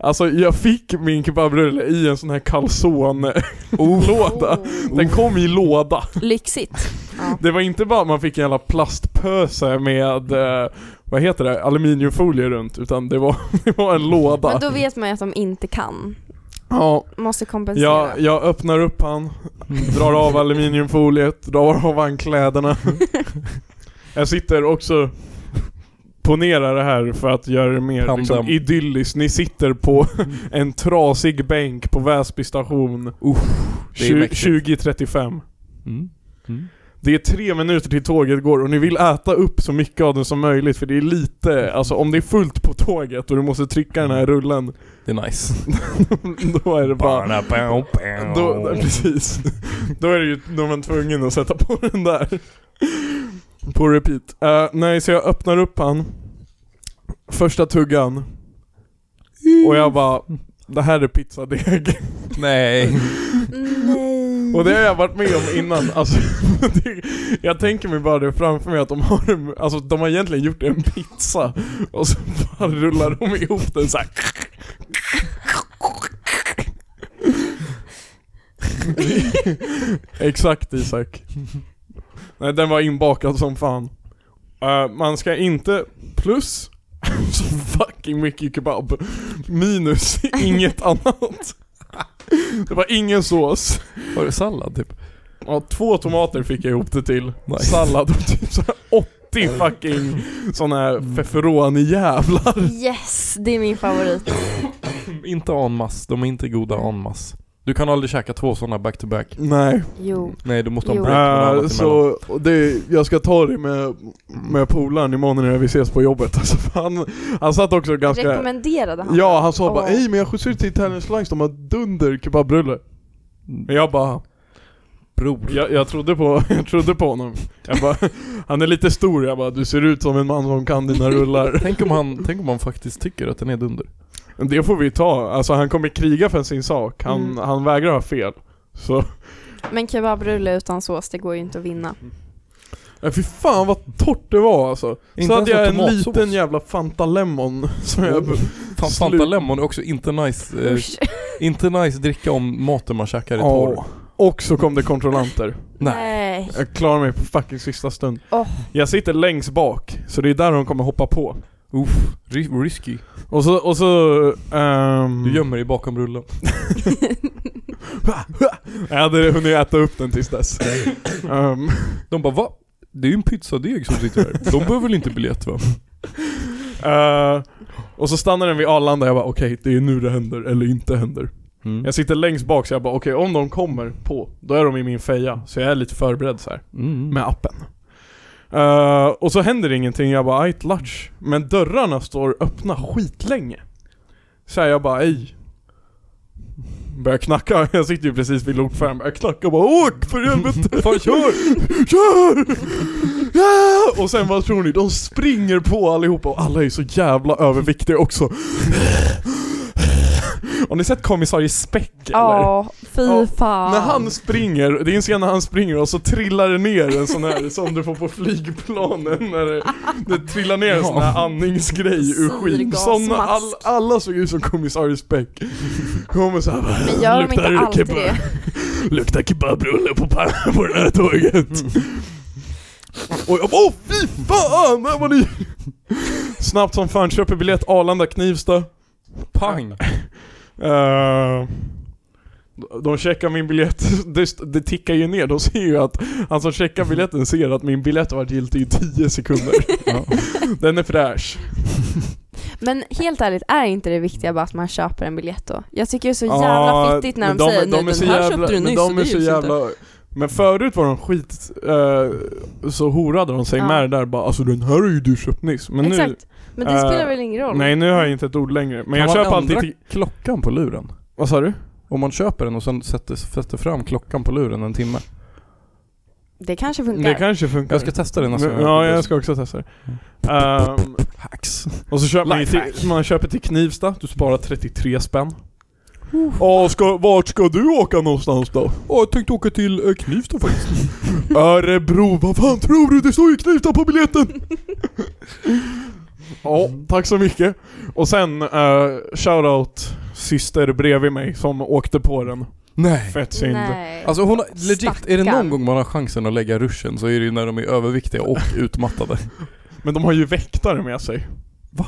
Alltså jag fick min kebabrulle i en sån här
Oh.
calzone-låda. Den kom i låda.
Lyxigt. Ja.
Det var inte bara att man fick en jävla plastpöse med, eh, vad heter det, aluminiumfolie runt, utan det var, det var en låda.
Men då vet man ju att de inte kan.
Ja,
Måste kompensera.
jag, jag öppnar upp han, drar av aluminiumfoliet, drar av han kläderna. Jag sitter också ponera det här för att göra det mer
Tandem.
liksom, idylliskt. Ni sitter på en trasig bänk på Väsby station.
det är
Tju-
mäktigt.
20.35.
Mm. Mm.
Det är tre minuter till tåget går och ni vill äta upp så mycket av den som möjligt för det är lite, alltså om det är fullt på tåget och du måste trycka den här rullen,
Det är nice.
då är det bara... Då,
Då,
precis. Då är det ju, då är man tvungen att sätta på den där. På repeat. Eh, nej, så jag öppnar upp han. Första tuggan. Och jag bara, det här är pizzadeg.
Nej.
Nej.
Och det har jag varit med om innan, alltså, det, Jag tänker mig bara det framför mig att de har en, alltså de har egentligen gjort en pizza Och så bara rullar de ihop den så här. Exakt Isak Nej den var inbakad som fan Eh, Man ska inte, plus så fucking mycket kebab Minus inget annat Det var ingen sås
Var det sallad typ?
Ja, två tomater fick jag ihop det till.
Nice.
Sallad och typ så här 80 fucking såna här feferoni jävlar.
Yes, det är min favorit.
Inte anmas. De är inte goda anmas. Du kan aldrig käka två sådana back to back.
Nej.
Jo.
Nej, du måste ha en
Jo.
break mellan annat emellan.
Äh, så och det, jag ska ta det med, med polaren imorgon när vi ses på jobbet. Alltså, för han, han satt också ganska...
Rekommenderade han
Ja, han sa bara
Åh.
Hej men jag skjutsade till Italian Slice, de har dunder kebabrulle. Men jag bara
Bror.
jag, jag, trodde på, jag trodde på honom. Jag bara, han är lite stor, jag bara du ser ut som en man som kan dina rullar.
Tänk om, han, tänk om han faktiskt tycker att den är dunder.
Det får vi ta, alltså han kommer kriga för sin sak, han,
Mm.
han vägrar ha fel. Så,
Men kebabrulle utan sås, det går ju inte att vinna.
ja, fy fan vad torrt det var alltså.
Inte
så
ens
hade jag en
med tomatsås.
liten jävla Fanta Lemon som jag...
Oh. Fan, Fanta
Slut.
Lemon är också inte nice, eh,
Usch.
inte nice dricka om maten man käkar är torr.
Ja. Och så kom det kontrollanter.
Nej.
Nej.
Jag klarar mig på fucking sista stund.
Åh.
Jag sitter längst bak, så det är där de kommer hoppa på.
Uff, ri- risky.
Och så, och så... ehm,
Du gömmer dig bakom rullen.
Jag hade hunnit äta upp den tills dess. Ehm,
De bara va? Det är ju en pizzadeg som sitter här. De behöver väl inte biljett
Mm.
va?
eh, och så stannar den vid Arlanda, jag bara okej, det är nu det händer, eller inte händer.
Mm.
Jag sitter längst bak så jag bara okej om de kommer på, då är de i min feja. Så jag är lite förberedd så här
Mm.
med appen. Eh, och så händer ingenting, jag bara ajt lunch. Men dörrarna står öppna skitlänge. Så här, jag bara ej. Börjar knacka, jag sitter ju precis vid lokfärden, börjar knacka och bara åk för helvete! Fan kör! Kör! Ja! Och sen vad tror ni? De springer på allihopa och alla är så jävla överviktiga också. Har ni sett kommissarie Speck eller?
Ja, fy
Ja,
fan.
När han springer, det är en scen när han springer och så trillar det ner en sån här som du får på flygplanen när det, det trillar ner en sån här andningsgrej ur skyn. Såna, all,
Syrgasmask.
alla såg ut som kommissarie Speck. Kommer såhär
Men gör de inte alltid
kebab,
det?
Luktar kebabrulle på, pa- på det här tåget. Och jag bara åh fy fan, där var ni! Snabbt som fan, köper biljett Arlanda Knivsta.
Pang!
Eh, de checkar min biljett, det, det tickar ju ner, de ser ju att han som checkar biljetten ser att min biljett har varit giltig i 10 sekunder. Den är fräsch.
Men helt ärligt, är inte det viktiga bara att man köper en biljett då? Jag tycker det är så jävla fittigt när de, säger
de, de är
nej
så
den här
jävla,
köpte du
men
nyss
de
och
är
det
så
gills inte.
jävla men förut var de skit, eh, så horade de sig
Ja.
med det där bara alltså den här har ju du köpt nyss. Men
Exakt. Men det
eh,
spelar väl ingen
nu,
roll?
nej nu har jag inte ett ord längre. Men jag
Kan man
köper
ändra
alltid till,
klockan på luren?
vad sa du?
Om man köper den och sen sätter, sätter fram klockan på luren en timme.
Det kanske funkar.
Det kanske funkar.
Jag ska alltså. testa det nästa gång.
Ja, jag ska också testa det.
Mm.
Ehm,
Hacks.
Och så köper man, ju
Lifehack.
till, man köper till Knivsta, du sparar 33 spänn. Ja, ska, vart ska du åka någonstans då?
Åh, jag tänkte åka till eh, Knivsta faktiskt.
Örebro, vad fan tror du? Det står ju Knivsta på biljetten! Ja, tack så mycket. Och sen, uh, shoutout syster bredvid mig som åkte på den.
Nej.
Fett synd.
Nej.
Alltså hon har, legit, är det någon
Stackarn.
gång man har chansen att lägga ruschen så är det ju när de är överviktiga och utmattade.
Men de har ju väktare med sig.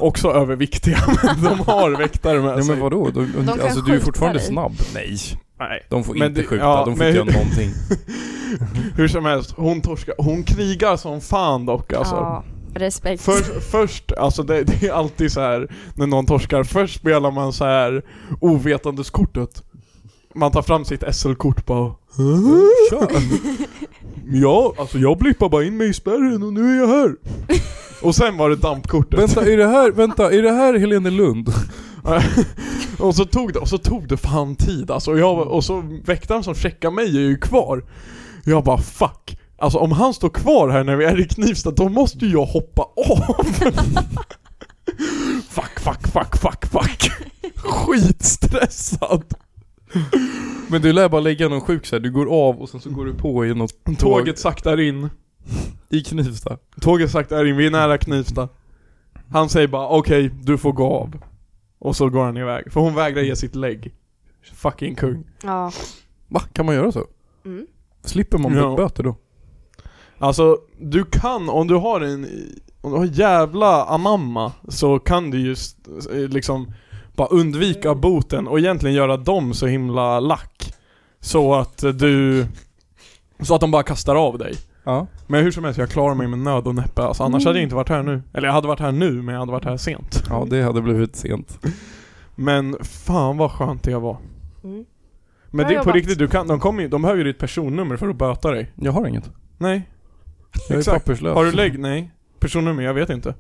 Också överviktiga, men de har väktare med
Nej
sig.
men vadå? De,
kan
alltså du är
skjuta
fortfarande
dig.
snabb. Nej.
Nej.
De får
Men
inte
det-
skjuta,
ja,
de får
men
inte
hur-
göra någonting.
Hur som helst, hon torskar. Hon krigar som fan dock alltså.
Ja. Respekt.
För, först, alltså det, det är alltid så här när någon torskar, först spelar man så här ovetandeskortet. Man tar fram sitt SL-kort bara
Kör.
Ja, alltså jag blippar bara in mig i spärren och nu är jag här. och sen var det dampkortet.
Vänta, är det här, vänta, är det här Helene Lund?
och, så tog det, och så tog det fan tid alltså. Och, jag, och så väktaren som checkar mig är ju kvar. Jag bara fuck. Alltså om han står kvar här när vi är i Knivsta, då måste ju jag hoppa av. fuck, fuck, fuck, fuck, fuck. Skitstressad.
Men du lär bara lägga någon sjuk så här. du går av och sen så går du på i något
Tåget saktar in.
i Knivsta.
Tåget saktar in, vi är nära Knivsta. Han säger bara okej, du får gå av. Och så går han iväg, för hon vägrar ge sitt lägg. Fucking kung.
Ja.
Va? Kan man göra så?
Mm.
Slipper man
Ja.
böter då?
Alltså, du kan, om du har en, om du har jävla anamma, så kan du just eh, liksom bara undvika boten och egentligen göra dem så himla lack. Så att du, så att de bara kastar av dig.
Ja.
Men hur som helst, jag klarar mig med nöd och näppe. Alltså, annars hade jag inte varit här nu. Eller jag hade varit här nu, men jag hade varit här sent.
Ja, det hade blivit sent.
Men fan vad skönt det var.
Mm.
Men
Bra
det är på
jobbat.
riktigt, du kan, de, kommer ju, de behöver ju ditt personnummer för att böta dig.
Jag har inget.
Nej.
Jag är
Exakt.
papperslös.
Har du lägg? Nej. Personnummer? Jag vet inte.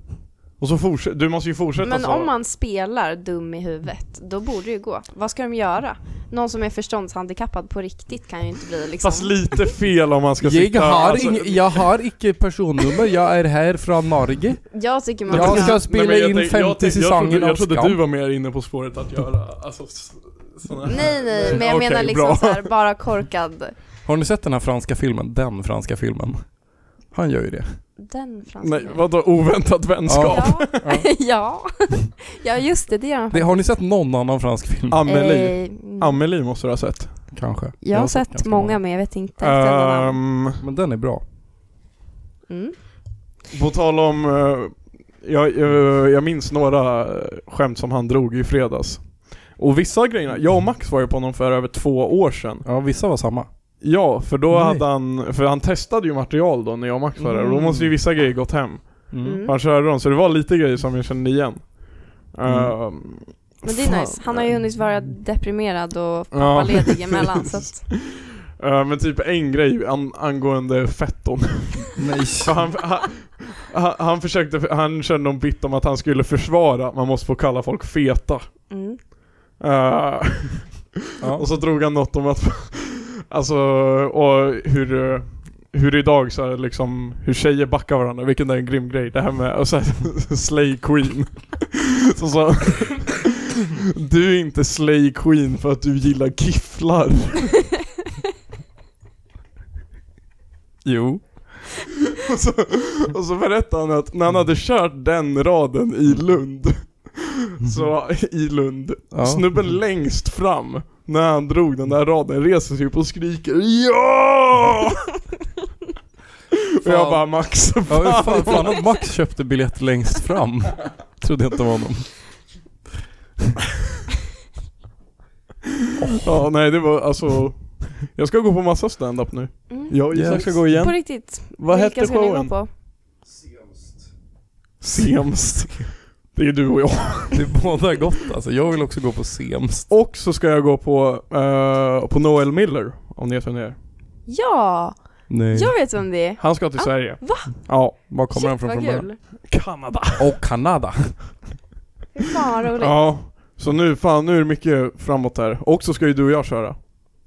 Och så fortsätt, du måste ju fortsätta
Men
så.
om man spelar dum i huvudet, då borde det ju gå. Vad ska de göra? Någon som är förståndshandikappad på riktigt kan ju inte bli liksom...
Fast lite fel om man ska sitta...
Jag har,
alltså-
ing, jag har icke personnummer, jag är här från Norge.
Jag tycker man
Jag
ska...
ska
Nej,
spela
men jag
in
tänk- jag
50
tänk- jag
säsonger
trodde-
av
Jag trodde du
Skam.
var mer inne på spåret att göra, alltså s- såna här-
Nej nej, men jag
Okej,
menar
bra.
liksom så här, bara korkad.
Har ni sett den här franska filmen? Den franska filmen. Han gör ju det.
Den franska.
Nej, vadå oväntat vänskap?
Ja. ja. ja, just det, det gör han.
det. Har ni sett någon annan fransk film?
Amelie.
Eh, mm.
Amelie måste du ha sett.
Kanske.
Jag har sett
ganska
många men jag vet inte efter alla namn.
Ehm,
Men den är bra.
Mm.
På tal om, eh, jag, jag, jag minns några eh, skämt som han drog i fredags. Och vissa grejerna, jag och Max var ju på honom för över två år sedan.
Ja, vissa var samma.
Ja, för då
Nej.
hade han, för han testade ju material då när jag och Max var där och då
Mm.
måste ju vissa grejer gått hem.
Mm.
Han körde dem, så det var lite grejer som jag kände igen.
Mm.
Eh,
Men det
fan.
är nice. Han har ju hunnit vara deprimerad och
Ja.
vara ledig emellan så att...
Eh, men typ en grej an, angående fetton.
Nej.
För han, han, han, han försökte, han körde någon bit om att han skulle försvara, man måste få kalla folk feta.
Mm.
Eh,
Ja.
Och så drog han något om att, alltså, och hur, eh, hur idag så är det liksom, hur tjejer backar varandra, vilken är en grym grej. Det här med, och så här, slay queen. Så sa du är inte slay queen för att du gillar kifflar.
Jo.
Och så, och så berättade han att när han hade kört den raden i Lund, så i Lund,
Mhm. Ja.
Snubben längst fram när han drog den där raden reser sig upp och skriker ja! och jag
Fan.
bara Max,
Ja, hur
fan.
fan, fan att Max köpte biljett längst fram. Trodde jag inte var honom.
Ja, nej det var alltså Jag ska gå på massa stand-up nu.
Mm.
Jag och Isak
Yes.
ska gå
På
igen.
riktigt.
Vad
Vilka
hette
ska ni gå
showen?
på?
Semst. Det är du och jag.
Det är båda gott alltså. Jag vill också gå på Semst.
Och så ska jag gå på, eh, på Noel Miller, om ni vet vem det är.
Ja!
Nej.
Jag vet vem det är.
Han ska till
Ah,
Sverige.
va?
Ja.
Var kommer han från
vad
från början?
kul.
Kanada.
Och Kanada.
Fy fan vad roligt.
Ja. Så nu, fan nu är det mycket framåt här. Och så ska ju du och jag köra.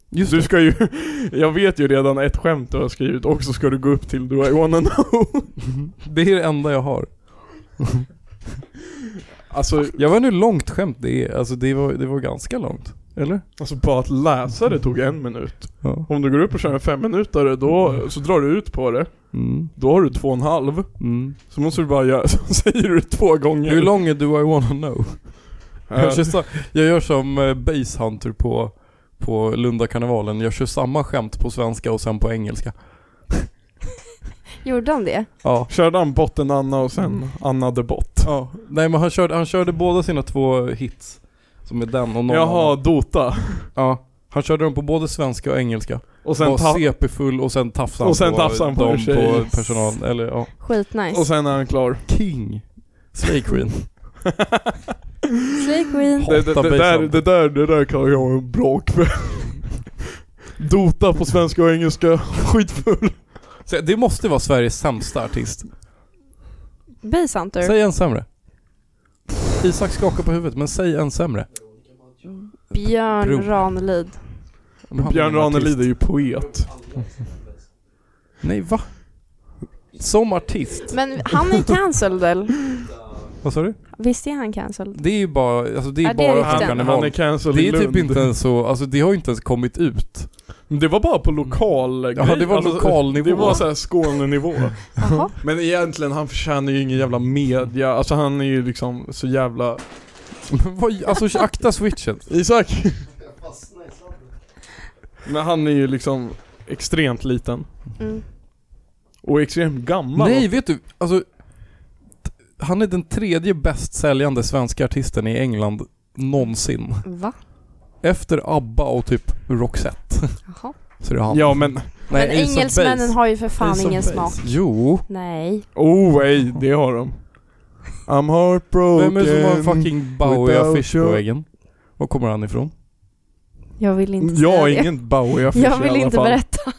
Just
Du ska ju, jag vet ju redan ett skämt du har skrivit och så ska du gå upp till Do I wanna know?
det är det enda jag har.
Alltså,
Jag vet inte hur långt skämt det är. Alltså det var, det var ganska långt. Eller?
alltså bara att läsa det tog en minut.
Ja.
Om du går upp och kör en femminutare då, så drar du ut på det.
Mm.
Då har du två och en halv.
Mm.
Så måste du bara göra, så säger du två gånger.
Hur lång är Do I wanna know? Jag,
Eh,
kör så, jag gör som eh, Basehunter på, på Lundakarnevalen. Jag kör samma skämt på svenska och sen på engelska.
Gjorde han det?
Ja.
Körde han botten Anna och
Mm.
sen Anna de Bott?
ja. Nej men han körde, han körde båda sina två hits. Som är den och någon
Jaha,
annan.
Dota.
Ja. Han körde dem på både svenska och engelska.
Och sen,
Var
ta-
CP-full och sen tafsade
Och sen tafsade han på en
dem
tjej.
på personal, eller ja.
Skitnice.
och sen är han klar.
King. Slay Queen.
Slay Queen.
Det, det,
Hatar
det, där,
Bayside.
det, där, det där kallar jag en bra kväll. Dota på svenska och engelska, skitfull.
Så det måste vara Sveriges sämsta artist.
Base Hunter.
Säg en sämre. Isak skakar på huvudet, men säg en sämre. Bro.
Björn Ranelid.
Men han är
Björn
ingen artist.
Ranelid är ju poet.
Nej, va? Som artist?
Men han är cancelled väl?
Vad sa du?
Visst är han cancelled?
Det är ju bara, alltså det är
Ja, det är
bara
Han,
rykten.
från
Carnival.
han är
karneval.
cancelled
Det
i
är
Lund.
typ inte ens så, alltså det har ju inte ens kommit ut.
Men Det var bara på lokal
Ja, det var lokalnivå.
alltså, Det var såhär Skånenivå.
Jaha.
Men egentligen, han förtjänar ju ingen jävla media. Alltså han är ju liksom så jävla...
Men vad- alltså akta switchen.
Isak! Men han är ju liksom extremt liten.
Mm.
Och extremt gammal.
Nej, vet du? Alltså, t- han är den tredje bäst säljande svenska artisten i England någonsin.
Va?
Efter ABBA och typ Roxette.
Jaha.
Så det är han.
Ja men,
Nej,
Men
Ace of
engelsmännen
Base.
har ju för fan
Ace of
ingen
Base.
smak.
Jo.
Nej.
oh ej, det har de. I'm heartbroken.
Vem är det som har en fucking
without
Bowie-affisch
you.
på väggen? Var kommer han ifrån?
Jag vill inte
Mm, Jag har
säga det.
ingen Bowie-affisch
Jag
i
vill
alla
inte
fall.
berätta.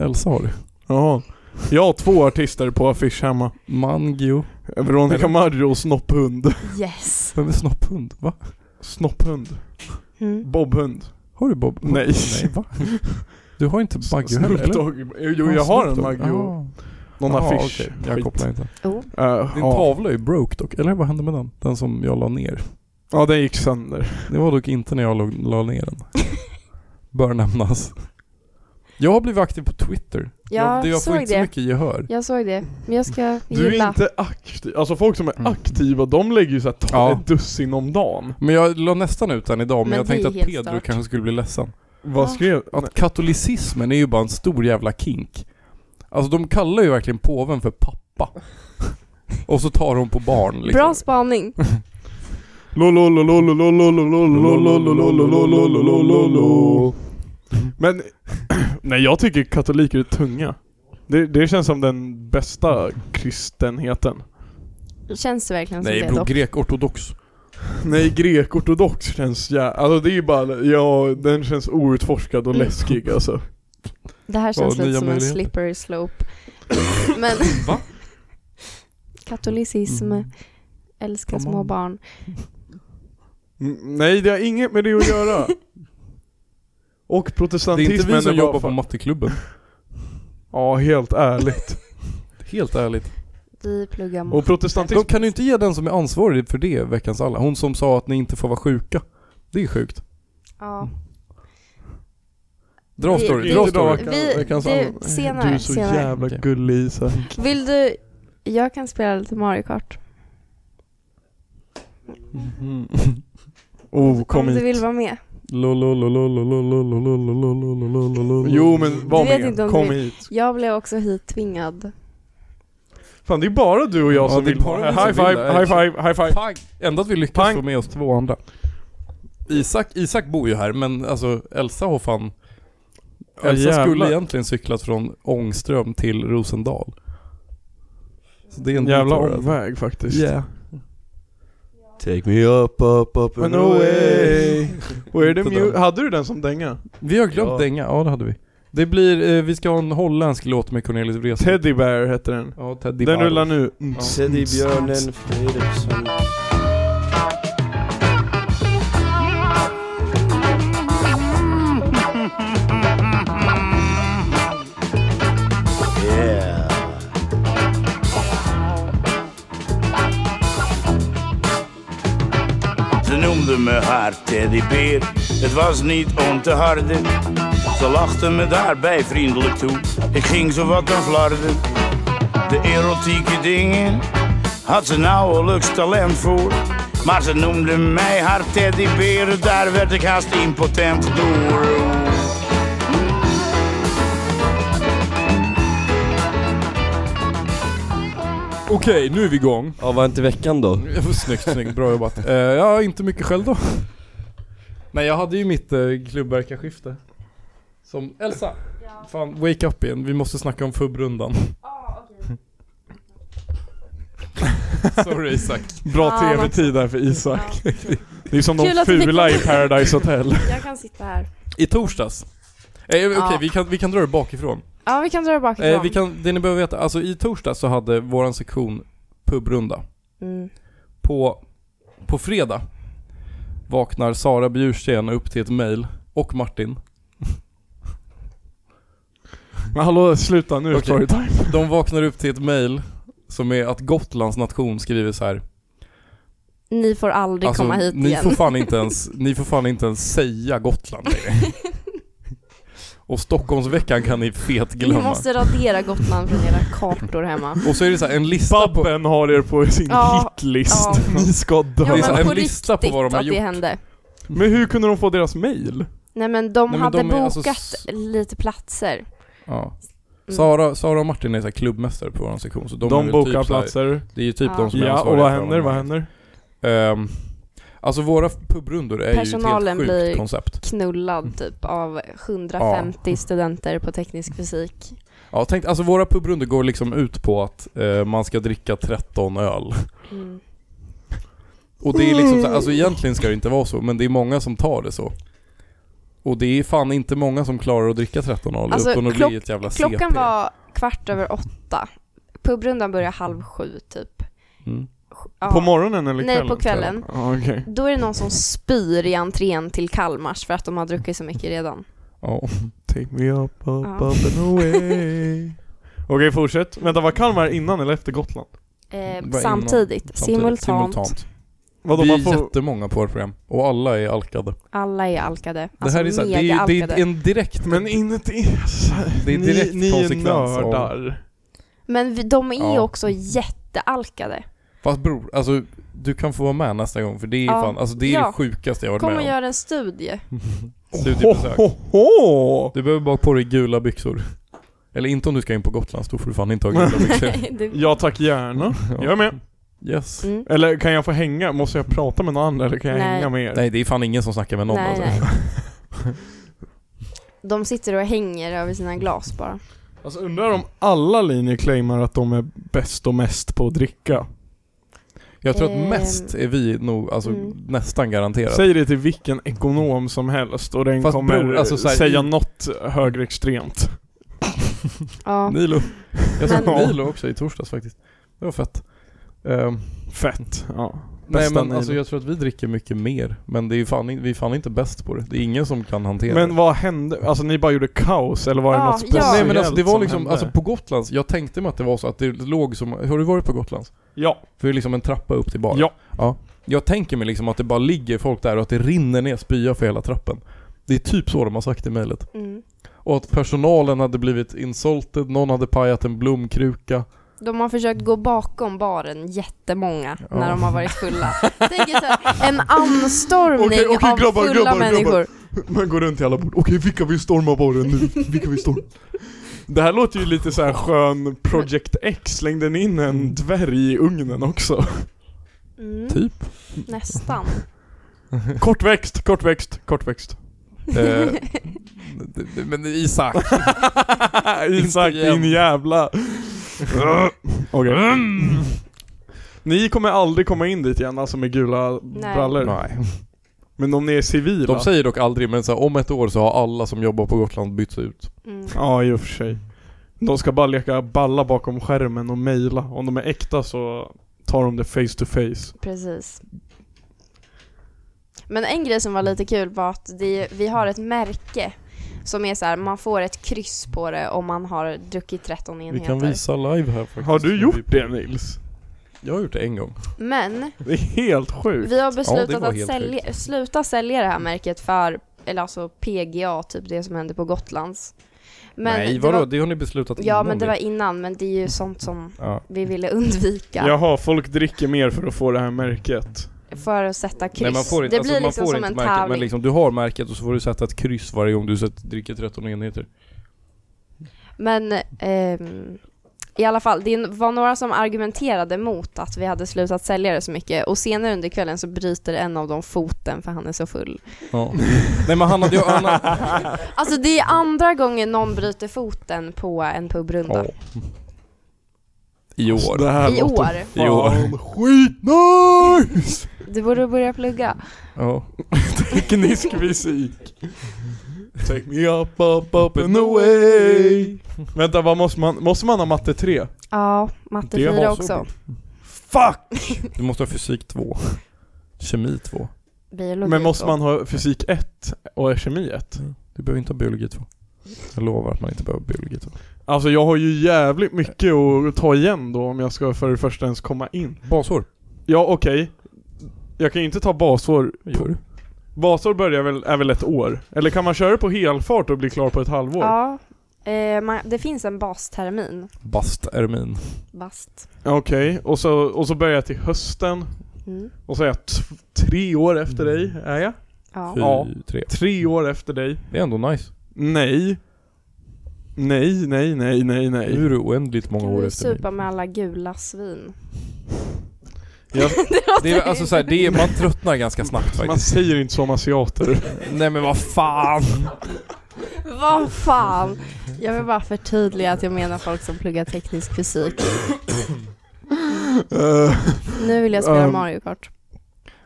Elsa har det.
Jaha. Jag har två artister på affisch hemma.
Mangio.
Veronica Maggio och Snopphund.
Yes.
Vem är snopphund? Va?
Snopphund.
Mm.
Bobhund.
Har du Bob?
Nej.
Nej va? Du har inte Baggio heller
Snoop
eller?
Dogg. Jo, jag har en Maggio. Någon affisch.
Jag
Skit.
kopplar inte.
Oh.
Eh,
Din
ja.
tavla är ju broke dock. Eller vad hände med den? Den som jag la ner.
ja, den gick sönder.
Det var dock inte när jag la, la ner den. Bör nämnas. Jag har blivit aktiv på Twitter.
Jag
det, jag får
såg
inte så
det.
mycket gehör.
Jag såg det. Men jag ska
Du är
gilla.
inte aktiv. Alltså folk som är
Mm.
aktiva, de lägger ju såhär
Ja.
ja. ett dussin om dagen.
Men jag la nästan ut den idag, men,
Men
jag
det
tänkte
är
att
helt
Pedro
stört.
kanske skulle bli ledsen.
Vad
Ja.
skrev... Nej.
Att katolicismen är ju bara en stor jävla kink. Alltså de kallar ju verkligen påven för pappa. Och så tar de på barn liksom.
Bra spaning.
Men, nej jag tycker katoliker är tunga. Det, det känns som den bästa kristenheten.
Känns det verkligen som
Nej
det
bro,
dock?
grekortodox.
Nej, grekortodox känns ja, Alltså det är ju bara, ja den känns outforskad och läskig alltså.
Det här känns
nya
lite som en
möjligheter.
slippery slope. Men...
Va? Mm.
Katolicism. Älskar
Come
små
on.
barn.
Mm, Nej, det har inget med det att göra. Och
Det är inte
protestantismen
vi som
bara
jobbar på
fan-
matteklubben.
Ja, helt ärligt.
Helt ärligt.
Vi pluggar
Och
mot.
protestantism...
De kan ju inte ge den som är ansvarig för det veckans alla. Hon som sa att ni inte får vara sjuka. Det är sjukt.
Ja.
Dra
Vi-
story,
vi-
dra
Inte
story.
idag,
Vi-
veckans
det-
alla.
senare,
Du är så
senare.
jävla
Okej.
gullig Isak.
Vill du... Jag kan spela lite Mario Kart.
Mm.
Oh, kom
om du
hit.
vill vara med.
Jo men var
Du vet
med,
inte om
kom
du
hit.
Jag blev också hit tvingad.
Fan det är bara du och jag
Ja,
som
det är
vill
bara
vara
vi som
här. High five,
vill det.
high five, high five.
Pang! Ändå att vi lyckas
Pang.
få med oss två andra. Isak, Isak bor ju här men alltså Elsa har fan...
Ja,
Elsa skulle
jävlar.
egentligen cyklat från Ångström till Rosendal. Så det är en
Jävla
otur, alltså.
omväg faktiskt.
Yeah.
Take me up, up, up
Men away. Where the
Inte
mu-
den.
Hade du den som dänga?
Vi har glömt
Ja.
dänga, ja det hade vi. Det blir, eh, vi ska ha en holländsk låt med Cornelis Vreeswijk.
Teddy Bear hette den.
Ja, Teddy
Den
Barr.
rullar nu.
Teddybjörnen Fredriksson. Yeah.
Ze noemden me haar teddybeer, het was niet om te harden. Ze lachten me daarbij vriendelijk toe, ik ging zo wat aan flarden. De erotieke dingen had ze nauwelijks talent voor. Maar ze noemde mij haar teddybeer, daar werd ik haast impotent door.
Okej, nu är vi igång.
Ja, var inte veckan då?
Snyggt, snyggt. Bra jobbat. Eh, ja, inte mycket själv då. Nej jag hade ju mitt eh, klubbverkarskifte. Som Elsa,
Ja. Ah,
fan wake up igen. Vi måste snacka om FUB-rundan. Sorry Isak.
Bra
Ah, vad-
tv-tid där för Isak. Det är som
Kul
de
att vi fick
fula i
komma.
Paradise Hotel.
Jag kan sitta här.
I torsdags. Eh, Okej,
Ja.
vi, kan, vi kan dra det bakifrån.
Ja, vi kan dra det bakifrån.
Eh, vi kan, det ni behöver veta, alltså i torsdags så hade våran sektion pubrunda.
mm.
På, på fredag vaknar Sara Bjursten upp till ett mail och Martin.
Men hallå, sluta nu.
Okej.
Storytime.
De vaknar upp till ett mail som är att Gotlands nation skriver så här.
Ni får aldrig komma hit
Alltså, ni
igen.
får, fan inte ens, ni får fan inte ens säga Gotland längre. Och Stockholmsveckan kan ni fet
Ni
glömma.
måste radera Gotland från era kartor hemma.
Och så är det så här, en lista på,
Babben har er på sin
Ja,
hitlist.
ja.
Ni ska dö.
är
Ja,
så
men
en
på
lista på
riktigt
vad de har
att det
gjort.
hände.
Men hur kunde de få deras mail?
Nej men de
Nej, men
hade
de är
bokat
alltså s-
lite platser.
ja.
Mm.
Sara, Sara och Martin är så här klubbmästare på vår sektion så de,
De,
är väl
bokar
typ så här-
platser.
Det är ju typ
Ja.
de som är
Ja, och
ansvariga
vad
för
händer? Vad händer?
Ehm, alltså våra pubrundor är ju ett
Personalen
helt sjukt
blir-
koncept. Mm.
Knullad typ av 150 studenter på teknisk fysik.
Ja, tänk, alltså våra pubrundor går liksom ut på att eh, man ska dricka 13 öl.
Mm.
Och det är liksom så, här- alltså egentligen ska det inte vara så, men det är många som tar det så. Och det är fan inte många som klarar att dricka 13 öl
Alltså,
utan att
klock-
bli ett jävla CP.
Klockan var kvart över åtta. Pubrundan börjar halv sju typ.
Mm.
Ja.
På morgonen eller kvällen?
Nej, på kvällen.
Ja, okej.
Då är det någon som spyr i entrén till Kalmars för att de har druckit så mycket redan. Eh,
Ja.
Take me up, up,
Ja.
up and away. Okej, fortsätt. Vänta, var Kalmar innan eller efter Gotland?
Eh,
Var
samtidigt,
innan-
simultant.
simultant.
Vadå,
Vi
man
är
får...
jättemånga på vårt program och alla är alkade.
Alla är alkade.
Det här är,
alltså
så här, det
mega
är, det
alkade.
är en direkt...
Men inuti...
Det är direkt
ni, ni är
konsekvens av-
nördar.
Men vi, de är
Ja.
också jättealkade.
Fast bror, alltså du kan få vara med nästa gång för det är
Ja.
fan, alltså det är
Ja.
det sjukaste jag har varit
Kom
med
och
om.
gör en studie.
Studiebesök.
Ho, ho, ho.
Du behöver bara ha på dig gula byxor. Eller inte om du ska in på Gotland, då får du fan inte ha gula byxor.
Du-
Ja tack, gärna. Jag är med.
Yes.
Mm.
Eller kan jag få hänga? Måste jag prata med någon annan eller kan jag
Nej.
hänga med er?
Nej, det är fan ingen som snackar med någon
Nej,
alltså.
nej. De sitter och hänger över sina glas bara.
Alltså undrar om alla linjer claimar att de är bäst och mest på att dricka.
Jag tror att
Ehm.
mest är vi nog, alltså
Mm.
nästan garanterat.
Säg det till vilken ekonom som helst och den
Fast
kommer
bror, alltså så här-
säga något högerextremt.
Ja.
Nilo. Jag såg
Men-
Nilo också i torsdags faktiskt. Det var fett. Ehm,
Fett. Ja.
nej
Bästa
men
Nilo.
alltså jag tror att vi dricker mycket mer. Men det är ju fan, in- vi är fan inte bäst på det. Det är ingen som kan hantera det.
Men vad hände? Alltså ni bara gjorde kaos eller var det
Ah, Ja,
något
ja.
speciellt
Nej men alltså det var
som
liksom,
hände?
alltså på Gotlands, jag tänkte mig att det var så att det låg som, har du varit på Gotlands?
Ja.
För det är liksom en trappa upp till baren.
Ja.
Jag tänker mig liksom att det bara ligger folk där och att det rinner ner spya för hela trappen. Det är typ så de har sagt i mejlet.
Mm.
Och att personalen hade blivit insulted, någon hade pajat en blomkruka.
De har försökt gå bakom baren jättemånga
Ja.
när de har varit fulla. Tänk er så här, en anstormning
Okej, okej,
av
grabbar,
fulla
grabbar,
människor.
grabbar. Man går runt till alla bord. Okej, vilka vill storma baren nu? Vilka vill storma? Det här låter ju lite så här skön Project X. Slängde ni in
Mm.
en dvärg i ugnen också?
Mm,
Typ.
nästan.
Kortväxt, kortväxt, kortväxt.
Eh, d- d- men Isak.
Isak,
Inte igen.
din jävla... Mm. Okej. Ni kommer aldrig komma in dit igen alltså med gula
Nej.
brallor.
Nej.
Men om ni är civila?
De säger dock aldrig, men så här, om ett år så har alla som jobbar på Gotland bytts ut.
Mm.
Ja, i och för sig. De ska bara leka balla bakom skärmen och mejla. Om de är äkta så tar de det face to face.
Precis. Men en grej som var lite kul var att det, vi har ett märke som är så här, man får ett kryss på det om man har druckit 13
Vi
enheter.
kan visa live här faktiskt.
Har du gjort det Nils?
Jag har gjort det en gång.
Men
Det är helt sjukt.
vi har
det
beslutat
var
att
helt
sälja, sluta sälja det här märket för, eller alltså PGA, typ det som hände på Gotlands. Men
Nej,
det
vadå?
var-
Det har ni beslutat
Ja,
innan
men det
ju.
var innan, men det är ju sånt som
Ja.
vi ville undvika.
Jaha, folk dricker mer för att få det här märket.
För att sätta kryss.
Nej, man får inte,
det
alltså,
blir
man
liksom
får
som
inte
en
märket, men
tävling.
liksom, du har märket och så får du sätta ett kryss liksom- varje gång du sätter, dricker 13 enheter.
Men ehm, I alla fall, det var några som argumenterade mot att vi hade slutat sälja det så mycket och senare under kvällen så bryter en av dem foten för han är så full.
Ja. Nej men han hade ju... Han hade,
Alltså det är andra gången någon bryter foten på en pubrunda.
Ja. I år.
Det här
I
låter
år.
I år.
fan skitnice!
Du borde börja plugga.
Ja.
Teknisk fysik. Take me up, up, up and away. Vänta, vad måste man, måste man ha matte 3?
Ja, matte
Det var
4
så
också.
Fuck!
Du måste ha fysik 2. Kemi 2.
Biologi
Men måste
också.
man ha fysik 1 och kemi 1?
Du behöver inte ha biologi 2. Jag lovar att man inte behöver biologi 2.
Alltså jag har ju jävligt mycket att ta igen då om jag ska för det första ens komma in.
Basår.
Ja okej. Jag kan ju inte ta basår.
Gör du?
Basår börjar väl, är väl ett år? Eller kan man köra det på helfart och bli klar på ett halvår?
Ja, eh, man, det finns en bastermin.
Bastermin.
Bast.
Okej, och, så, och så börjar jag till hösten.
Mm.
Och så är jag t- tre år efter dig, är jag?
Ja.
Fy,
Ja.
tre.
Tre år efter dig.
Det är ändå nice.
Nej. Nej, nej, nej, nej,
Nu
nej.
är du oändligt många år
Du
efter mig.
supa med alla gula svin.
Jag,
Det är, alltså, så här, det är, man tröttnar ganska snabbt
man
faktiskt.
säger inte som asiater.
Nej men vad fan.
Vad fan! Jag vill bara förtydliga att jag menar folk som pluggar teknisk fysik.
Eh,
Nu vill jag spela
Um.
Mario Kart.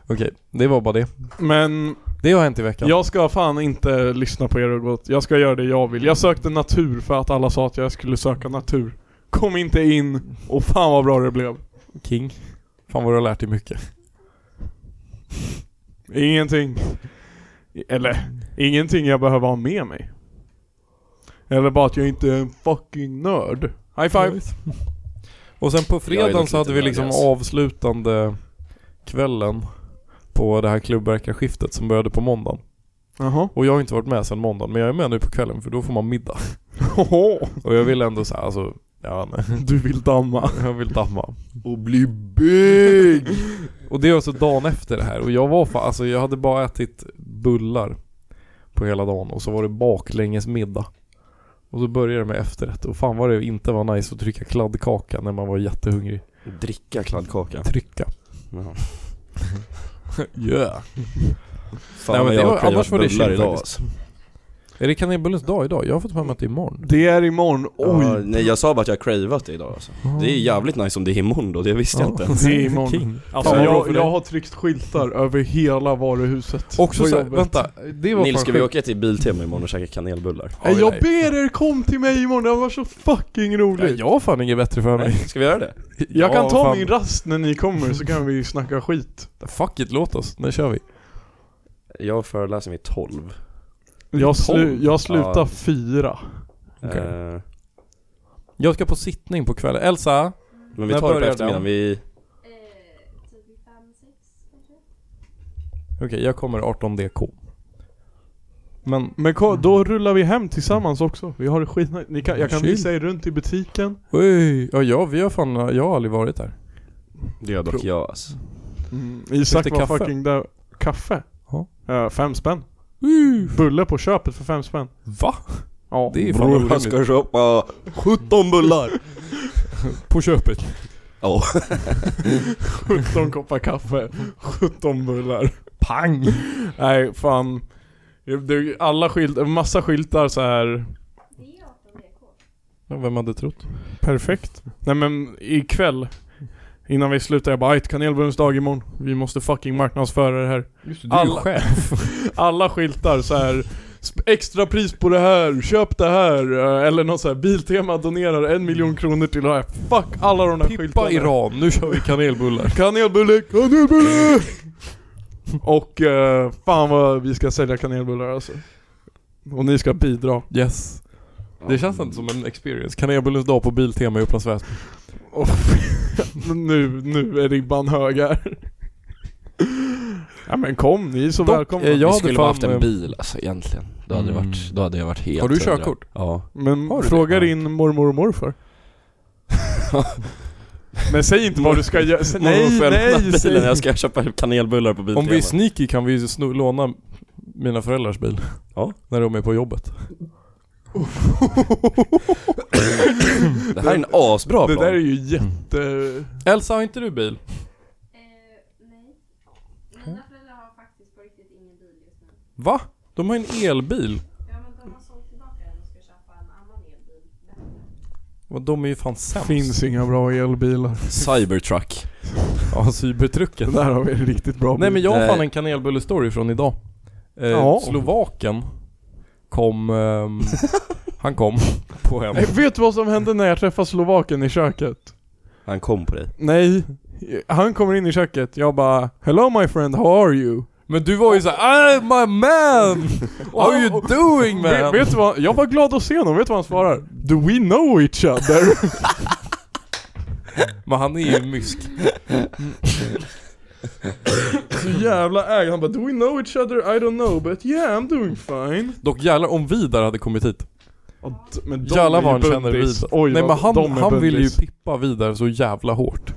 Okej, det var bara det.
Men
Det har hänt i veckan.
jag ska fan inte lyssna på er och gå åt- Jag ska göra det jag vill. Jag sökte natur för att alla sa att jag skulle söka natur. Kom inte in och fan vad bra det blev.
King. Fan vad du har lärt dig mycket.
Ingenting. Eller, ingenting jag behöver ha med mig. Eller bara att jag inte är en fucking nörd. High five!
Och sen på
Jag är
fredagen
dock
så hade vi
lite
liksom
nervös.
avslutande kvällen på det här klubbverkarskiftet som började på måndagen.
Jaha.
Och jag har inte varit med sedan måndagen, men jag är med nu på kvällen för då får man middag.
Hoho.
Och jag vill ändå såhär, alltså, ja, nej.
Du vill damma.
jag vill damma.
Och bli big!
Och det är alltså dagen efter det här och jag var fan, alltså jag hade bara ätit bullar på hela dagen och så var det baklänges middag. Och så började det med efterrätt och fan vad det inte var nice att trycka kladdkaka när man var jättehungrig.
Dricka kladdkaka.
Trycka.
Jaha.
Yeah. Nej, men
Fan vad
det
jag
var-
har
annars
cravat
var det
bullar
chill
idag
faktiskt.
alltså.
Är det kanelbullens dag idag? Jag har fått för mig att det är imorgon.
Det är imorgon, oj!
Ja, nej jag sa bara att jag har cravat det idag alltså. Det är jävligt nice om det är imorgon då, det visste jag
Ja.
inte.
Det är imorgon.
King.
Alltså
Fan, vad bra
jag,
för
jag
dig.
har tryckt skyltar över hela varuhuset.
Också
På
så,
jobbet.
vänta. Det var
Nils,
fan
ska vi
sjukt.
åka till Biltema imorgon och käka kanelbullar?
Nej, jag ber er kom till mig imorgon, det var så fucking
Ja,
roligt!
jag har fan inget bättre för mig.
Ska vi göra det?
Jag kan
Ja,
ta
fan.
min rast när ni kommer så kan vi snacka skit.
Fuck it, låt oss. Nu kör vi.
Jag föreläser vid 12.
Jag, slu, jag slutar
Ja.
fyra.
Okej.
Eh,
Jag ska på sittning på kvällen. Elsa?
men vi
När
tar det på
börjar
eftermiddagen,
den?
vi...
Okej, jag kommer 18DK. Men
Men ko- då rullar vi hem tillsammans också. Vi har det skitnice. Ni kan, jag kan
Chill.
visa er runt i butiken.
Oj, ja, ja vi har fan, jag har aldrig varit där.
Det gör dock
Prov.
jag alltså.
Isak
Fick
var
du Mm. kaffe?
fucking där. Kaffe?
Ja.
Eh, fem spänn. Bulle på köpet för fem spänn.
Va?
Ja.
Det är fan orimligt.
köpa 17 bullar!
På köpet.
Ja,
17 koppar kaffe, 17 bullar.
Pang!
Nej, fan. Det är alla skyltar, massa skyltar så här.
Ja, vem hade trott?
Perfekt. Nej men ikväll, innan vi slutar, jag bara "Ajt, kanelbullens dag imorgon. Vi måste fucking marknadsföra det här.
Just
du är ju Alla skyltar så här. sp- Extra pris på det här, köp det här. eh, Eller något så här. Biltema donerar en miljon kronor till det här. Fuck alla de där skyltarna.
Pippa Iran, nu kör vi kanelbullar.
Kanelbulle, kanelbulle! Och eh, fan vad vi ska sälja kanelbullar alltså. Och ni ska bidra.
Yes. Det känns inte som en experience. Kanelbullens dag på Biltema i Upplands Väsby.
Och nu, nu är ribban hög här. Ja men kom, ni är så
Dock,
välkomna.
eh, jag
vi
hade
skulle bara
fan,
haft en
eh,
bil alltså egentligen. Då hade, det
Mm.
varit, då hade jag varit helt
Har du
hundra.
körkort?
Ja.
Men
Har du
fråga
det?
din mormor och morfar. men säg inte vad du ska göra. Säg- Nej,
Mormor får öppna
nej,
bilen,
säg.
jag ska köpa kanelbullar på Biltema.
Om vi är sneaky kan vi ju sno- låna mina föräldrars bil.
Ja.
När de är på jobbet.
det här är en asbra
Det
plan.
där är ju jätte...
Elsa, har inte du bil?
nej. Mina föräldrar har faktiskt på riktigt ingen bil just nu.
Va? De har en elbil.
Ja, men de har sålt tillbaka den och ska köpa en annan elbil.
Och De är ju fan sämst.
Finns inga bra elbilar.
Cybertruck.
Ja, cybertrucken.
Den där har vi en riktigt bra
Nej men jag har
Nej.
fan en kanelbulle-story från idag. Eh,
Ja.
Slovaken kom... ehm, han kom på hem.
Nej, vet du vad som hände när jag träffade Slovaken i köket?
Han kom på dig.
Nej. Han kommer in i köket, jag bara 'Hello my friend, how are you?'
Men du var ju såhär ah, my man! How are you doing
Vet,
man?
vet du vad, jag var glad att se honom, vet du vad han svarar? 'Do we know each other?'
Men han är ju mysk.
Så jävla äg, han bara 'Do we know each other? I don't know, but yeah I'm doing fine'
Dock jävlar om Vidar hade kommit hit.
Och d- Men de
Jävlar
är
vad han
ju
känner
bundis.
Vidar.
Oj,
Nej
vad
men han,
de är
han vill ju
bundis.
pippa Vidar så jävla hårt.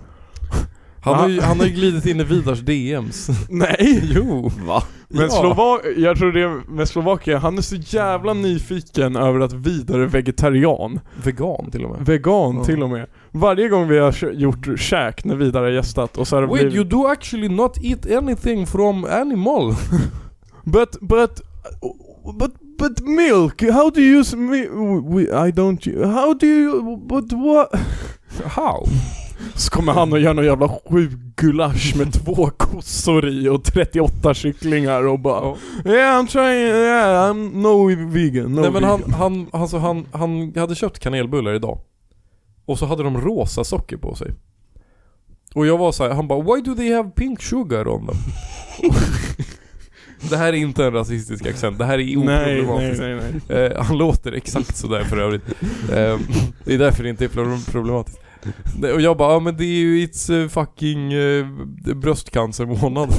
Han har, ju, han har ju glidit in i Vidars DMs.
Nej!
Jo.
Va?
Men
Ja.
Slova- jag tror det med Slovakien, han är så jävla nyfiken över att Vidar är vegetarian.
Vegan till och med.
Vegan
Ja.
till och med. Varje gång vi har kö- gjort käk när Vidar har gästat och så har det
Wait
blivit...
you do actually not eat anything from animal.
But, but, but, but milk, how do you use mi- we, I don't, u- how do you, but what?
How?
Så kommer han och gör någon jävla sju gulasch med två kossor i och 38 kycklingar och bara Yeah I'm trying, yeah I'm no vegan, no
Nej men
vegan.
han, han, alltså han, han hade köpt kanelbullar idag. Och så hade de rosa socker på sig. Och jag var så här, han bara 'Why do they have pink sugar on them?' det här är inte en rasistisk accent, det här är
nej, nej,
oproblematiskt.
nej, nej.
Eh, han låter exakt sådär för övrigt. Eh, det är därför det inte är pro- problematiskt. Nej, Och jag bara, ja men det är ju it's eh, fucking eh, bröstcancermånad.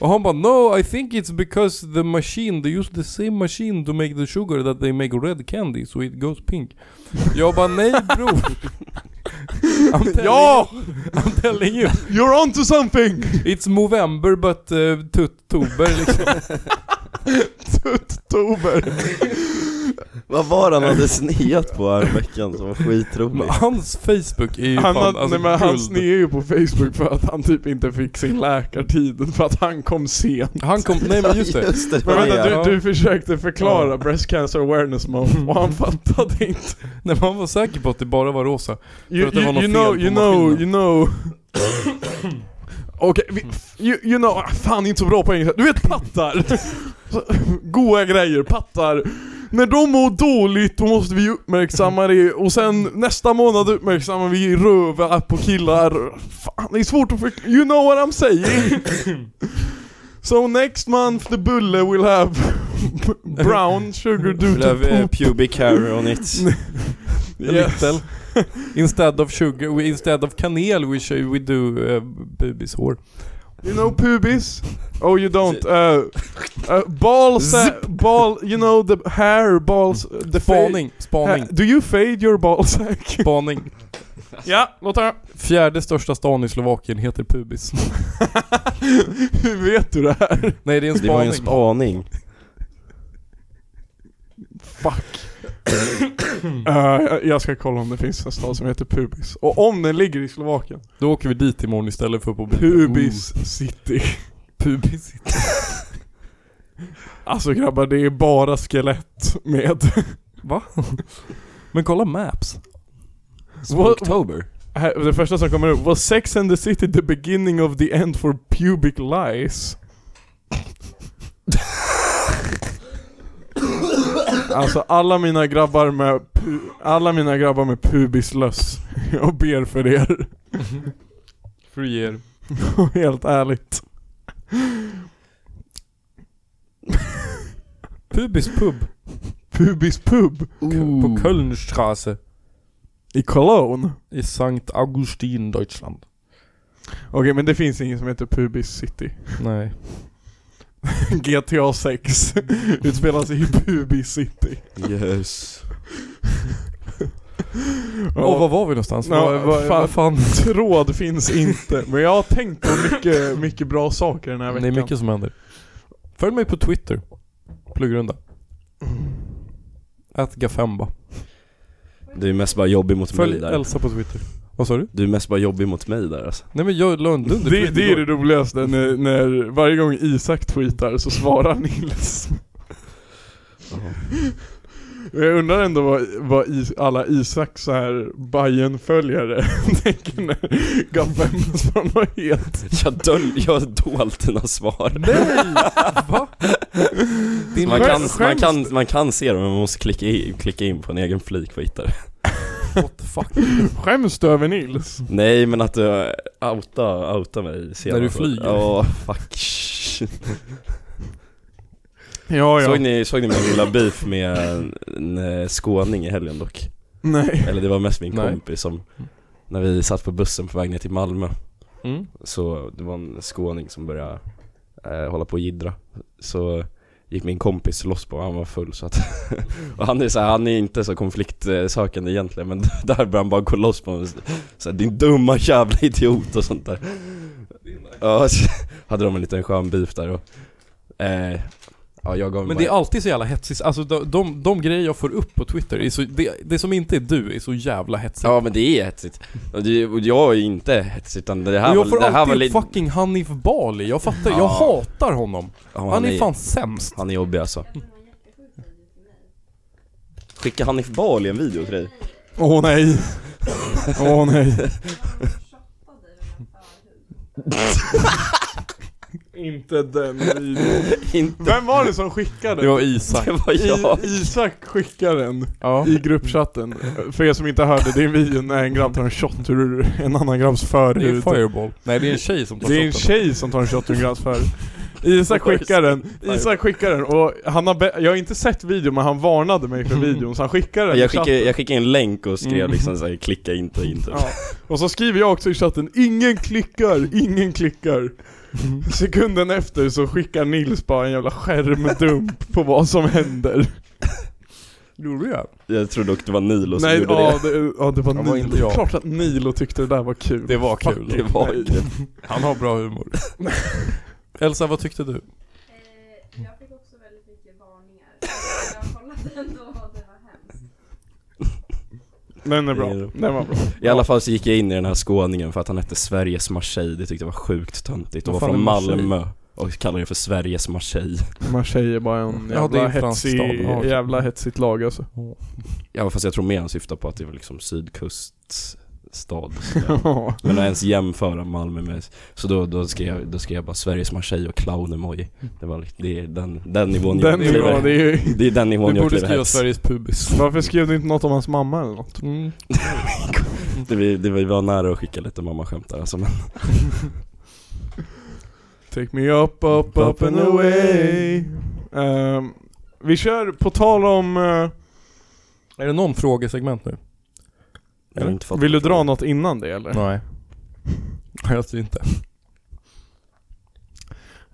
Och han bara no I think it's because the machine, they use the same machine to make the sugar that they make red candy so it goes pink. Jag bara nej bror. I'm telling
Ja!
you, I'm telling you.
You're on to something!
It's Movember but uh, Tuttober liksom.
Tober.
Vad var han hade sneat på häromveckan som var
Men
skitroligt?
hans Facebook är ju
Han,
fan
har,
alltså,
nej, men han
guld.
snear ju på Facebook för att han typ inte fick sin läkartid för att han kom sent.
Han kom, nej men just det.
Just det, det
Men
var det.
vänta,
ja.
du, du försökte förklara Breast Cancer Awareness Month och han fattade inte.
Nej, men han var säker på att det bara var rosa.
You,
att det
you,
var något
you
fel
know,
på
you know,
maskinen. Mm.
you know. Okej, vi- you, you know, ah, fan inte så bra på engelska. Du vet pattar! Så, Goa grejer, pattar. När de mår dåligt då måste vi uppmärksamma det och sen nästa månad uppmärksammar vi röva på killar. Fan, det är svårt att förklara. You know what I'm saying? So next month the bulle will have brown sugar due to
Blev eh,
poop.
pubic hair on it.
Yes.
Little. Instead of sugar, we, instead of kanel we, should, we do uh, bebishår.
You know pubis? Oh you don't. Uh, uh, balls, uh, ball, you know the hair, balls, uh, the fa-
Spaning, spaning,
Ha- do you fade your ballsack?
spaning.
ja, låt höra.
Fjärde största stan i Slovakien heter Pubis.
Hur vet du det här?
Nej det är en
Det var
spaning.
ju en spaning.
Fuck. uh, jag ska kolla om det finns en stad som heter pubis. Och om den ligger i Slovakien.
Då åker vi dit imorgon istället för på
Pubis city.
Pubis.
Alltså grabbar, det är bara skelett med.
Va? Men kolla maps.
Spooktober.
Här- det första som kommer upp. Was sex and the city the beginning of the end for pubic lies? alltså alla mina grabbar med pu- alla mina grabbar med pubislöss. Jag ber för er.
Free er.
Helt ärligt.
Pubis pub.
Pubis pub
På Kölnstraße.
i Cologne.
I Sankt Augustin, Deutschland.
Okej men det finns ingen som heter Pubis city.
Nej.
GTA 6
Mm.
utspelas i Pubis city.
Yes.
Och var var vi någonstans?
Ja,
vad, vad,
fan.
vad fan?
Tråd finns inte, men jag har tänkt på mycket, mycket bra saker den här
Det är
veckan.
mycket som händer. Följ mig på Twitter. Pluggrunda. Ät Gafemba.
Du är mest bara jobbig mot mig
Följ
där.
Elsa på Twitter. Vad sa du?
Du är mest bara jobbig mot mig där alltså.
Nej men jag la en dunder
Det, det är det roligaste, när, när varje gång Isak tweetar så svarar Nils. Jag undrar ändå vad, vad is, alla Isaks så här Bajen-följare tänker när Gaffem svarar något helt.
Jag, döl, jag har dolt dina svar.
Nej! Va? Din
Man kan,
skäms-
man, kan, man kan se dem men man måste klicka in, klicka in på en egen flik för att hitta det.
What the fuck?
Skäms du över Nils?
Nej men att du outa, outa mig senare.
När du flyger.
Ja, fuck. shit.
Ja,
Såg ni, såg ni min lilla beef med en, en skåning i helgen dock?
Nej.
Eller det var mest min
Nej.
kompis som, när vi satt på bussen på väg ner till Malmö
Mm.
Så det var en skåning som började eh, hålla på och jiddra Så gick min kompis loss på honom, han var full så att Och han är så här, han är inte så konfliktsökande egentligen men där började han bara gå loss på honom så här, din dumma jävla idiot och sånt där Ja, så hade de en liten skön beef där och eh, Ja jag gav mig
Men det är
bara-
alltid så jävla hetsigt. Alltså de, de, de grejer jag får upp på Twitter, är så, det, det som inte är du är så jävla hetsigt.
Ja men det är hetsigt och, det, och jag är ju inte hetsig utan det här
och jag
var,
får
det här var
alltid
lite
fucking Hanif Bali, jag fattar, jag
Ja.
hatar honom.
Ja,
Han, är fan sämst.
Han är jobbig alltså Skicka Hanif Bali en video till dig?
Åh nej. Åh nej. Inte den videon.
Inte
Vem var det som skickade?
Det var Isak.
det var jag
I, Isak skickar den
Ja.
i gruppchatten. För er som inte hörde, det är en video när en grabb tar en shot ur en annan grabbs
Det är
förhud.
fireball. Nej det är en tjej som tar
Det är en
shotten.
tjej som tar en shot ur en grabbs förhud. Isak skickar den, Isak skickar den och han har be- jag har inte sett videon men han varnade mig
Mm.
för videon så han skickar den i
jag skickade,
chatten.
jag skickade en länk och skrev
Mm.
liksom såhär, klicka inte in typ.
Ja. Och så skriver jag också i chatten, ingen klickar, ingen klickar. Sekunden efter så skickar Nils bara en jävla skärmdump på vad som händer.
Gjorde jag?
Jag tror dock det var Nilo som
Nej,
gjorde
ja det, ja det var
Det var
Nilo.
inte jag.
Klart att Nilo tyckte det där var kul.
Det var kul.
det Det var
Nej.
kul.
Han har bra humor. Elsa, vad tyckte du?
Jag fick också väldigt mycket varningar. Jag kollade ändå och det var hemskt.
Den är bra.
Det är-
Den var bra.
I alla fall så gick jag in i den här skåningen för att han hette Sveriges Marseille, det tyckte jag var sjukt töntigt och
Vad
var
fan
från
är Marseille?
Malmö och kallade det för Sveriges Marseille
Marseille är bara en
Ja,
jävla,
det är en fransk
hetsig,
stad. Ja, okej.
jävla hetsigt lag alltså.
Ja fast jag tror mer han syftar på att det var liksom sydkuststad
Ja.
Men att ens jämföra Malmö med, så då, då, skrev, jag- då skrev jag bara Sveriges Marseille och clown-emoji Det var li- det är den, den nivån
Den
jag
är bra, det är ju...
Det är den nivån
Du
jag
borde
kliver
skriva
hets
Sveriges pubis.
Varför skrev du inte något om hans mamma eller något?
Mm.
det, vi, det, vi var nära att skicka lite mammaskämt där alltså, men
Take me up, up, up and away Ehm, Vi kör, på tal om... eh,
Är det någon frågesegment nu?
jag har inte fått
vill du dra något innan det eller?
Nej. Jag tror inte.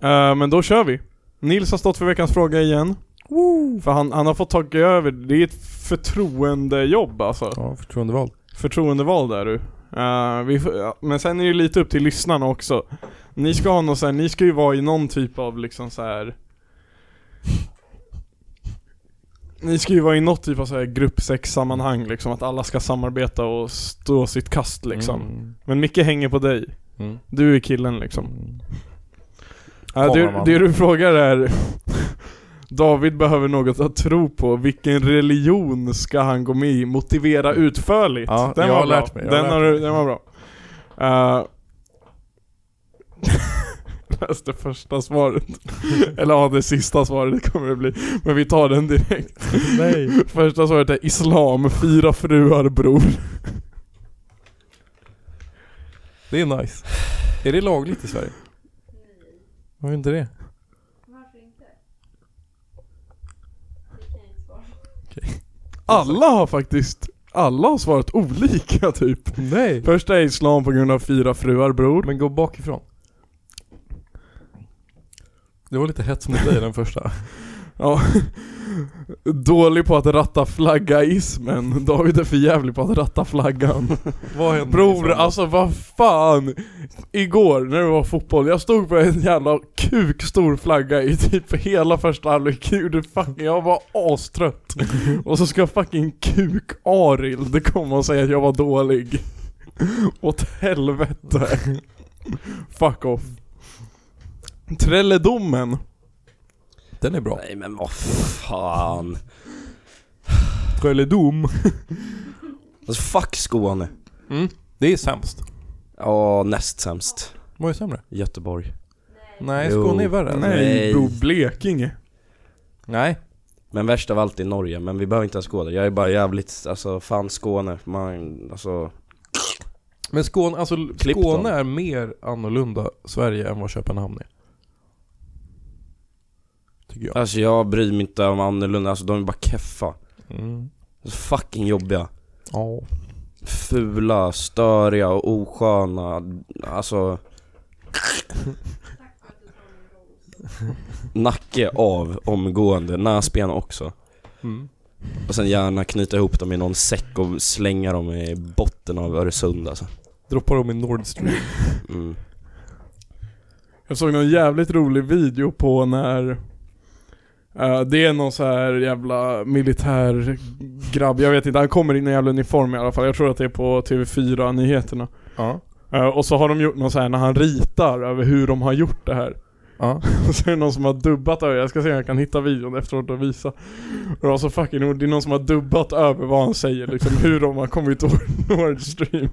Eh, men då kör vi. Nils har stått för veckans fråga igen. För han, han har fått ta över, det är ett förtroendejobb alltså.
Ja, förtroendevald.
Förtroendevald är du. Eh, vi, får- ja, men sen är det lite upp till lyssnarna också. Ni ska ha något så här, ni ska ju vara i någon typ av liksom så här. Ni ska ju vara i något typ av så här gruppsexsammanhang liksom, att alla ska samarbeta och stå sitt kast liksom.
Mm.
Men mycket hänger på dig.
Mm.
Du är killen liksom. Ja,
Fan,
det,
vad-
det du frågar är David behöver något att tro på, vilken religion ska han gå med i? Motivera utförligt.
Ja,
den
jag
var
har
bra.
lärt mig, jag har
Den,
lärt
har,
mig.
du- den var bra. Uh, läste första svaret. Eller ja, det sista svaret kommer det bli. Men vi tar den direkt.
Nej.
Första svaret är Islam, fyra fruar bror.
Det är nice. Är det lagligt i Sverige? Varför inte det?
Varför inte? Det kan jag inte svara på.
Alla har faktiskt, alla har svarat olika typ.
Nej.
Första är islam på grund av fyra fruar bror.
Men gå bakifrån. Det var lite hets mot dig den första.
Ja. Dålig på att ratta flagga-ismen. David är för jävlig på att ratta flaggan.
Vad hände?
Bror, alltså vad fan! Igår när det var fotboll, jag stod på en jävla kukstor flagga i typ hela första halvlek, gjorde fucking, jag var astrött. Och så ska fucking kuk-Arild komma och säga att jag var dålig. Åt helvete. Fuck off. Trelledomen.
Den är bra.
Nej men vad fan.
Trelledom.
Alltså fuck Skåne.
Mm. Det är sämst.
Ja, näst sämst.
Vad är sämre?
Göteborg.
Nej,
Jo.
Skåne är värre.
Nej.
bro, Blekinge.
Nej.
Men värst av allt är Norge, men vi behöver inte ens gå där. Jag är bara jävligt, alltså fan Skåne. Man, alltså,
Men Skåne, alltså
Klipp dem.
Skåne är mer annorlunda Sverige än vad Köpenhamn är. Tycker jag.
alltså jag bryr mig inte om annorlunda, alltså de är bara keffa.
Mm.
Alltså, fucking jobbiga.
Ja.
Fula, störiga och osköna. Alltså... Nacke av omgående, näsben också.
Mm.
Och sen gärna knyta ihop dem i någon säck och slänga dem i botten av Öresund alltså.
Droppar dem i Nord Stream.
Mm.
Jag såg någon jävligt rolig video på när eh, Det är någon så här jävla militär grabb, jag vet inte, han kommer i en jävla uniform i alla fall. Jag tror att det är på TV4 nyheterna.
Ja.
Eh, och så har de gjort någon så här när han ritar över hur de har gjort det här.
Ja.
Och så är det någon som har dubbat över, jag ska se om jag kan hitta videon efteråt och visa. Och det var så fucking roligt, det är någon som har dubbat över vad han säger liksom, hur de har kommit åt Nord Stream.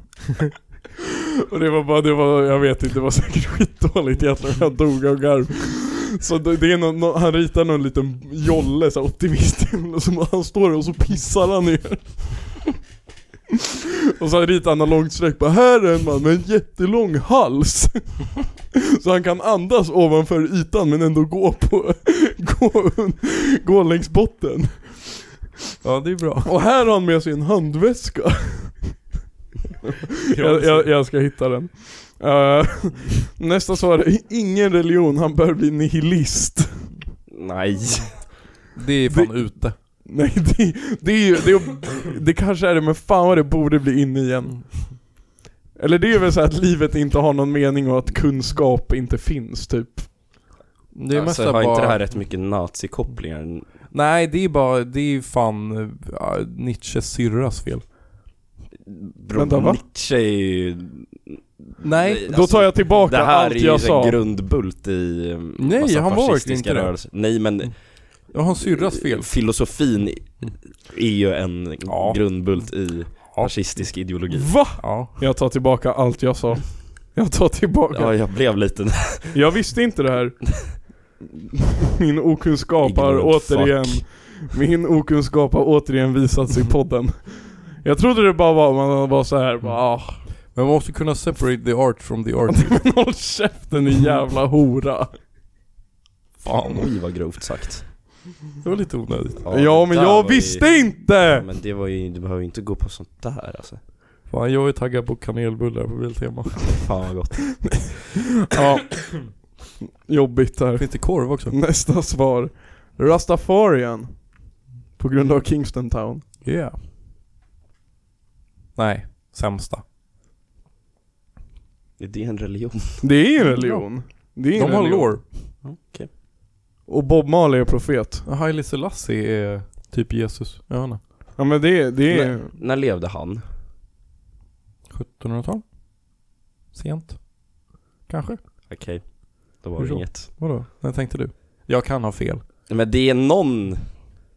och det var bara, det var, jag vet inte, det var säkert skitdåligt egentligen, jag dog av garv. Så det det är någon, någon, han ritar någon liten jolle, så här optimist, och så han står och så pissar han ner. Och så ritar han något långt streck bara, här är en man med en jättelång hals. Så han kan andas ovanför ytan men ändå gå på, gå, un- gå längs botten.
ja, det är bra.
Och här har han med sig en handväska. Jag,
alltså,
jag, jag ska hitta den. Eh, nästa svar är ingen religion, han bör bli nihilist.
Nej.
Det är fan ute.
Nej det, det är ju, det, det kanske är det men fan vad det borde bli inne igen. Eller det är väl så här att livet inte har någon mening och att kunskap inte finns typ.
Det är
alltså,
mesta
har
bara...
inte det här rätt mycket nazikopplingar?
Nej, det är bara, det är fan äh, Nietzsches syrras fel.
Bro,
Vänta, va?
Nietzsche är ju... Alltså,
Nej.
Då tar jag tillbaka
Det här är
allt
ju
jag
en
sa.
grundbult i eh,
Nej,
massa
han var
fascistiska
verkligen inte det.
rörelser. Nej men
Jag har en syrras fel.
filosofin är ju en
Ja.
grundbult i
Ja.
fascistisk ideologi.
Va?
Ja.
Jag tar tillbaka allt jag sa. Jag tar tillbaka.
Ja, jag blev lite
Jag visste inte det här. Min okunskap har
Ignorant fuck.
återigen, min okunskap har återigen visats i podden. Jag trodde det bara var, man var så här, bara, ah,
Men man måste kunna separate the art from the art.
men håll käften din jävla hora.
fan.
Oj vad grovt sagt.
Det var lite onödigt.
Ja, men
det där
jag
var ju-
visste
Äh.
inte!
Men det var ju, du behöver ju inte gå på sånt där alltså.
Fan, jag är taggad på kanelbullar på Biltema.
Fan vad gott.
Ja. Jobbigt här.
Finns det korv också?
Nästa svar. Rastafarian. På grund av Kingston Town.
Yeah. Nej, sämsta.
Är det en religion?
Det är en religion. Det är en
De har
religion.
lår.
Och Bob Marley är profet.
Haile Selassie är typ Jesus. Jag vet inte.
Ja men det, det är...
När, när levde han?
1700-tal? Sent? Kanske?
Okej, då var
Hur
det
så?
inget.
Vadå? När tänkte du? Jag kan ha fel.
Men det är någon,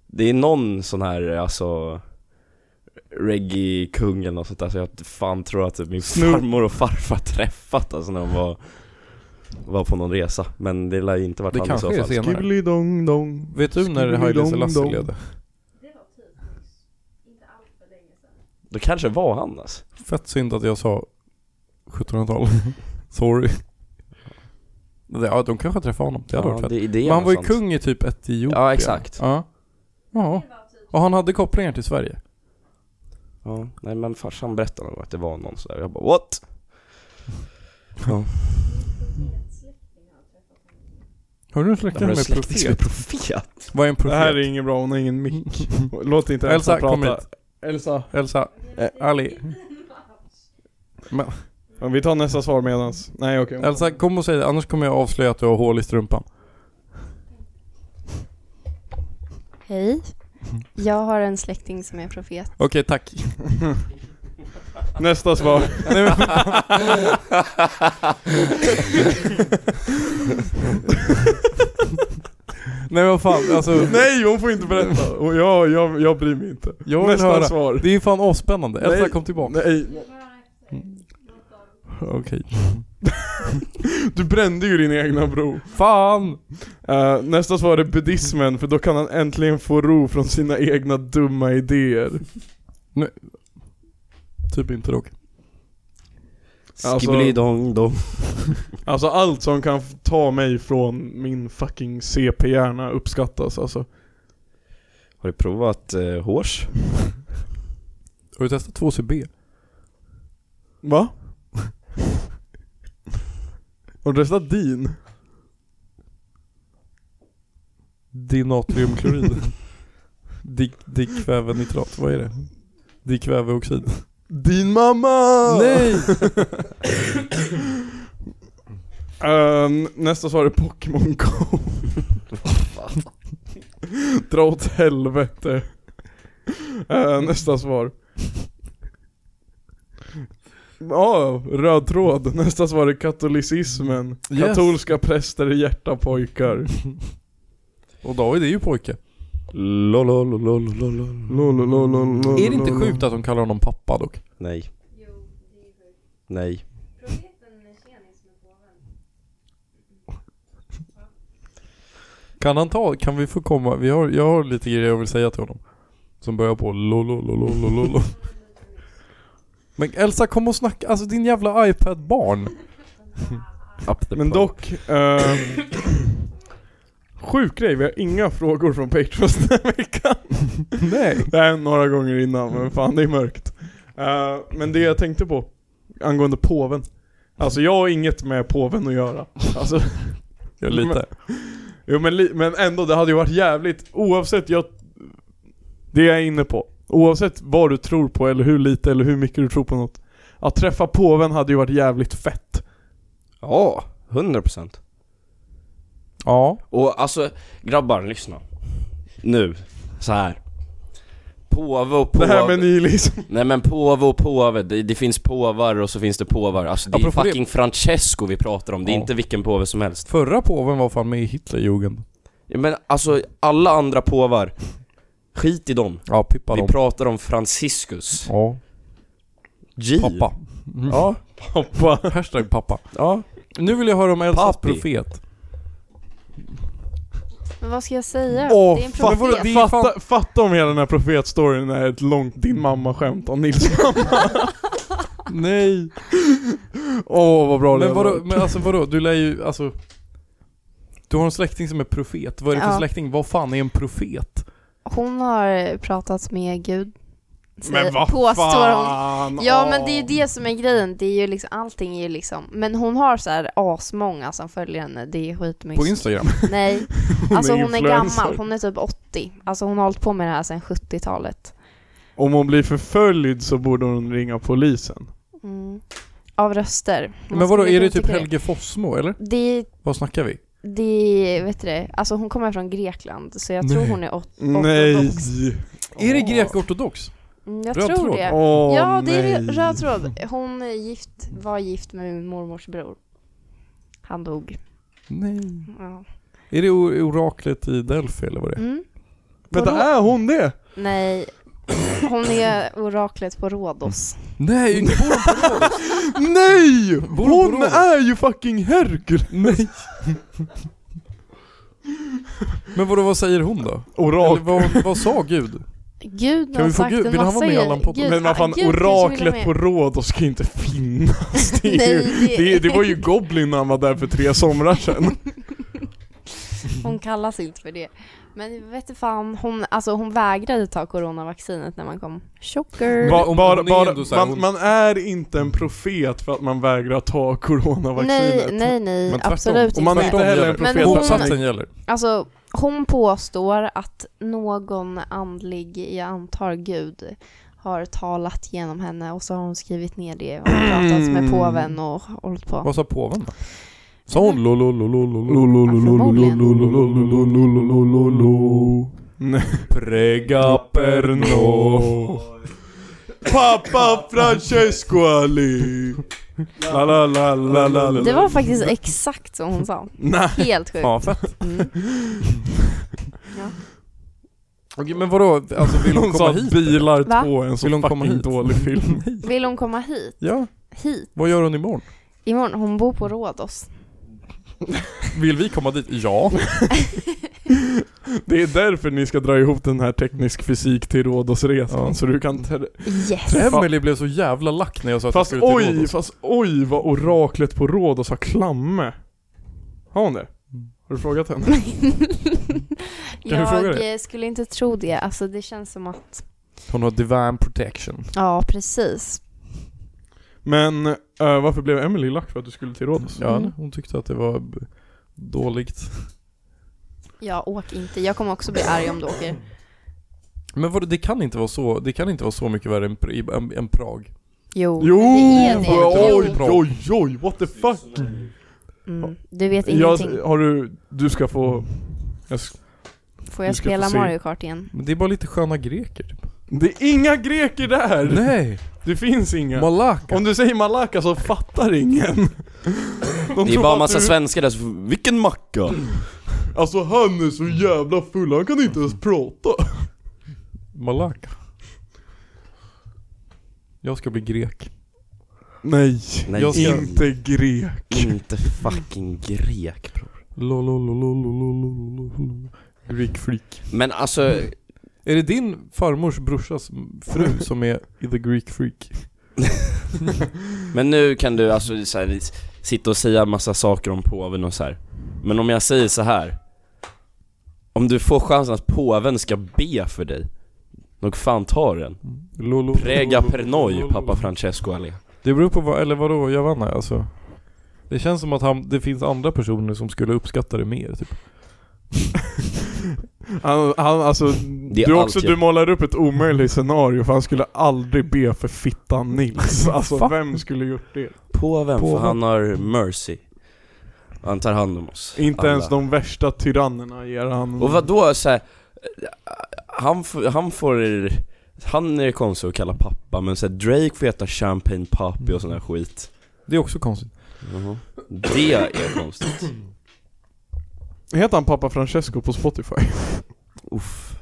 det är någon sån här alltså reggae-kung eller något sånt där så jag fan tror att typ min
Snoop.
farmor och farfar träffat alltså när de var, var på någon resa. Men det lär ju inte varit
Det
han i så
kanske är
fall.
senare.
Skibbelidong dong.
Vet du när Haile Selassie levde?
Då kanske det var han alltså.
Fett synd att jag sa 1700-tal. Sorry. Ja, de kanske träffade honom. Det hade varit
ja,
fett.
det, det är
Men han var ju
någonstans.
kung i typ Etiopien.
Ja, exakt.
Ja. ja. Och han hade kopplingar till Sverige.
Ja, nej men farsan berättade nog att det var någon sådär, jag bara what?
Har du en släkting
Har du
som
en
är
släkting som är
profet?
profet?
Vad är en profet?
Det här är inget bra, hon har ingen mick. Låt inte Elsa,
Elsa,
prata.
kom
Elsa.
Elsa,
Eh,
Ali,
Ja, Vi tar nästa svar medans. Nej okej.
Elsa kom och säg det, annars kommer jag avslöja att du har hål i strumpan.
Hej. Jag har en släkting som är profet.
Okej, tack.
Nästa svar.
Nej, men, Nej men vad fan, alltså.
Nej hon får inte berätta. Och jag, jag, jag bryr mig inte.
Jag vill
Nästa
höra.
svar.
Det är fan avspännande. Elsa
Nej.
kom tillbaka.
Nej,
Okej.
du brände ju din egna bro.
Fan!
Eh, nästa svar är buddhismen, för då kan han äntligen få ro från sina egna dumma idéer.
Typ inte dock.
Alltså-
Skibblidong-dong.
Alltså allt som kan f- ta mig från min fucking CP-hjärna uppskattas alltså.
Har du provat eh, hårs?
Har du testat 2CB?
Va? Har du testat din?
Dinatriumklorid? Dik- Dikvävenitrat, vad är det? Dikväveoxid?
Din mamma!
Nej!
Ehm, nästa svar är Pokémon Go. Dra åt helvete. Eh, nästa svar. Ja, röd tråd. Nästa svar är katolicismen.
Yes.
Katolska präster är hjärta pojkar.
Och David är ju pojke.
Lolololololol.
Lolololololol.
Är det inte sjukt att de kallar honom pappa dock?
Nej. Nej.
Kan han ta, kan vi få komma, vi har, jag har lite grejer jag vill säga till honom. Som börjar på lololololololol. Men Elsa kom och snacka, alltså din jävla iPad-barn.
Men dock, eh, sjuk grej, vi har inga frågor från Patreons den här veckan. Nej. Det är några gånger innan, men fan det är mörkt. Eh, men det jag tänkte på, angående påven. Alltså jag har inget med påven att göra. Alltså,
Ja, lite.
jo men, li- men ändå, det hade ju varit jävligt, oavsett jag... Det jag är inne på. Oavsett vad du tror på eller hur lite eller hur mycket du tror på något. Att träffa påven hade ju varit jävligt fett.
Ja, 100%.
Ja.
Och alltså, grabbar, lyssna. Nu, så här. Påve och
Det
påve.
här med liksom nihilism.
Nej men påve och påve, det, det finns påvar och så finns det påvar. Alltså det är
Apropå
fucking Francesco vi pratar om, det är
Ja.
inte vilken påve som helst.
Förra påven var fan med i Hitlerjugend.
Ja, Men alltså, alla andra påvar, skit i dem.
Ja, pippa
Vi
dem.
pratar om Franciscus.
Ja,
G.
pappa.
Ja,
Pappa. Hashtag pappa.
ja.
Nu vill jag höra om Elsas
Pappi.
profet.
Men vad ska jag säga?
Åh,
det är en
fa-
profet.
det är fan-
fatta, fatta om hela den här profetstoryn är ett långt din mamma-skämt om Nils mamma.
Nej.
Åh vad bra det
Men vadå,
var.
men alltså vadå, du lär ju, alltså. Du har en släkting som är profet. Vad är det för
Ja.
släkting? Vad fan är en profet?
Hon har pratat med Gud. säger-
Men vad
Påstår hon.
fan!
Ja
åh.
men det är ju det som är grejen, det är ju liksom, allting är ju liksom, men hon har så här asmånga som följer henne, det är skitmycket.
På Instagram?
Nej, alltså hon är
influencer.
gammal, hon är typ 80. Alltså hon har hållit på med det här sedan 70-talet.
Om hon blir förföljd så borde hon ringa polisen.
Mm. Av röster. Man
Men vadå,
skulle
är det
inte
typ
tycka
Helge Fossmo eller?
Det,
Vad snackar vi?
det, vet du det, alltså hon kommer från Grekland så jag tror
Nej.
hon är 80.
Nej!
Är det grekortodox?
Mm, jag
Röd
tror
tråd.
det.
Åh
ja, det är
nej.
röd tråd. Hon är gift, var gift med min mormors bror. Han dog.
Nej.
Ja.
Är det or- oraklet i Delphi eller vad det är?
Mm.
Vänta, är hon det?
Nej, hon är oraklet på Rhodos.
Nej, inte bor hon på Rhodos?
Nej!
Bor hon på
Hon
Rhodos?
är ju fucking Herkules! Nej!
Men vadå, vad säger hon då? Eller
Orak.
vad, vad sa Gud?
Gud
Kan
har
vi få
sagt
Gud?
en
Vill han
massa
vara med i
grejer.
Allan Potter?
Gud-
Men vad fan,
Gud kanske vill vara
oraklet
med.
på Rhodos ska inte finnas. Det, är ju,
Nej,
det, det var ju Goblin när han var där för tre somrar sedan.
Hon kallas inte för det. Men jag vet inte fan, hon, alltså hon vägrade ta coronavaccinet när man kom. Chocker.
Va-
Ba,
hon-
bara,
hon är
bara,
ändå så här,
man,
hon-
man är inte en profet för att man vägrar ta coronavaccinet.
nej, nej, nej,
Men tvärtom.
absolut
Och man är
inte.
inte heller en profet
Men
för att man
Motsatsen gäller.
Alltså, hon påstår att någon andlig, jag antar gud, har talat genom henne och så har hon skrivit ner det och pratat med påven och hållit på.
Vad sa påven då? Sa hon lolololololo?
Förmodligen.
Nej.
Pregaperno.
Pappa Francesco Ali. La, la, la, la, la, la.
Det var faktiskt exakt som hon sa.
Nej.
Helt sjukt.
Ja, fett.
Typ. Mm.
Okej, men vadå? Alltså vill hon
Hon sa
komma hit?
bilar
Va?
2, en så
Vill hon komma
fucking
hit?
dålig film.
Vill hon komma hit?
Ja.
Hit?
Vad gör hon imorgon?
Imorgon? Hon bor på Rhodos.
Vill vi komma dit? Ja.
Det är därför ni ska dra ihop den här teknisk fysik till Rhodosresan,
Ja.
så du kan... Ter-
Yes!
Emily blev så jävla lack när jag sa att
fast
jag skulle till
oj,
Rhodos.
fast oj vad oraklet på Rhodos har klamme. Har hon det? Har du frågat henne? Kan du fråga
jag
det?
eh, skulle inte tro det. Alltså det känns som att...
Hon har divine protection.
Ja, precis.
Men eh, varför blev Emily lack för att du skulle till Rhodos?
Ja,
Mm.
hon tyckte att det var b- dåligt.
Jag åk inte. Jag kommer också bli arg om du åker.
Men vadå, det kan inte vara så, det kan inte vara så mycket värre än, pr- än, än Prag.
Jo,
Jo!
det är det.
Oj,
Jo.
oj, oj, what the fuck?
Mm. Du vet
Jag,
ingenting.
har du, du ska få... Jag, sk-
Får
vi
jag
ska
spela
få se.
Mario Kart igen?
Men det är bara lite sköna greker. typ.
det är inga greker där!
Nej!
Det finns inga.
Malaka!
Om du säger Malaka så fattar ingen. De
Det är
tror
bara
att
massa
du- Mm.
svenskar där som, vilken macka!
Alltså han är så jävla full, han kan inte ens prata.
Malaka. Jag ska bli grek.
Nej,
Nej,
Jag ska-
inte grek.
Inte fucking grek bror.
Lolololololololololol. Greek freak.
Men alltså,
Är det din farmors brorsas fru som är the Greek freak?
men nu kan du alltså så här, sitta och säga massa saker om påven och så här. Men om jag säger så här. Om du får chansen att påven ska be för dig, nog fan tar den.
Lolo-
Prega
lolo-
pernoj,
lolo-
pappa Francesco Ali.
Det beror på vad, eller vadå, jag vann här, alltså. Det känns som att han, det finns andra personer som skulle uppskatta det mer typ.
Han, han, alltså,
Det är
du,
allt
också,
jag-
du målar upp ett omöjligt scenario för han skulle aldrig be för fittan Nils. Alltså
Fan.
vem skulle gjort det?
Påven, för
Påven.
han har mercy. Han tar hand om oss.
Inte
alla.
ens de värsta tyrannerna ger han...
Och
Mm.
vadå så här, han, f- han får, han är konstig att kalla pappa men så här, Drake får heta Champagne Papi och sån där skit
Det är också konstigt.
Det är konstigt
Heter han pappa Francesco på Spotify?
Uff.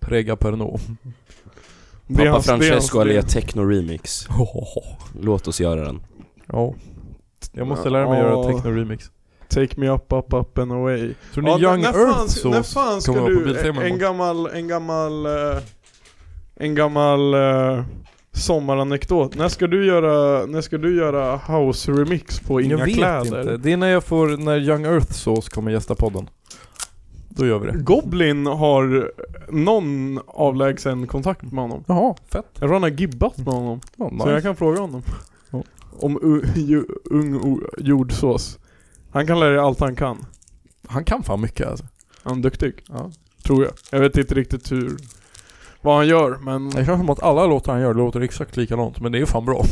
Prega perno.
Det är
Pappa
hans- det är
Francesco
hans- det är-
eller Techno Remix Låt oss göra den
Ja. Jag måste lära mig att göra
Ja.
techno-remix.
Take me up, up, up and away.
Tror ni Young
när
Earth
fan,
så
när fan ska
kommer vara på
du,
Biltema
en
imorgon?
gammal, en gammal, eh, en gammal eh, sommaranekdot. När ska du göra, när ska du göra house remix på Inga
jag vet
Kläder?
inte. Det är när jag får, när Young Earth Sauce kommer gästa podden. Då gör vi det.
Goblin har någon avlägsen kontakt med honom.
Jaha, fett.
Jag tror han har gibbat med honom.
Ja,
Så
nice.
jag kan fråga honom.
Ja.
Om u- ju, ung o- jordsås. Han kan lära dig allt han kan.
Han kan fan mycket alltså.
Han är duktig,
Ja.
tror jag. Jag vet inte riktigt hur, vad han gör men...
Det känns som att alla låtar han gör låter exakt likadant, men det är ju fan bra.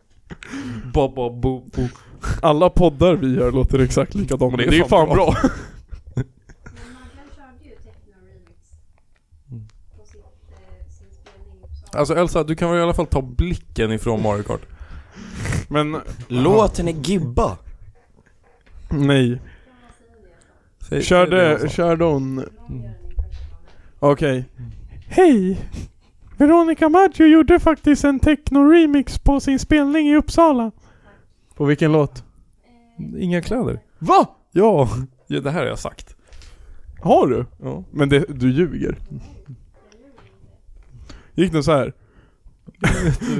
Baba, bo, bo. Alla poddar vi gör låter exakt likadant men det är, fan, bra.
Men Maggan körde ju techno remix
Mm.
på sitt, eh, sin spelning i Uppsala.
Alltså Elsa, du kan väl i alla fall ta blicken ifrån Mario Kart?
Men
Låten är gibba!
nej,
Säg- säg
körde,
Elsa.
körde hon... Okej Hej! Veronica Maggio gjorde faktiskt en techno-remix på sin spelning i Uppsala På vilken låt?
Inga kläder?
Va?
Ja. ja, det här har jag sagt.
Har du?
Ja.
Men det, du ljuger Gick den så här?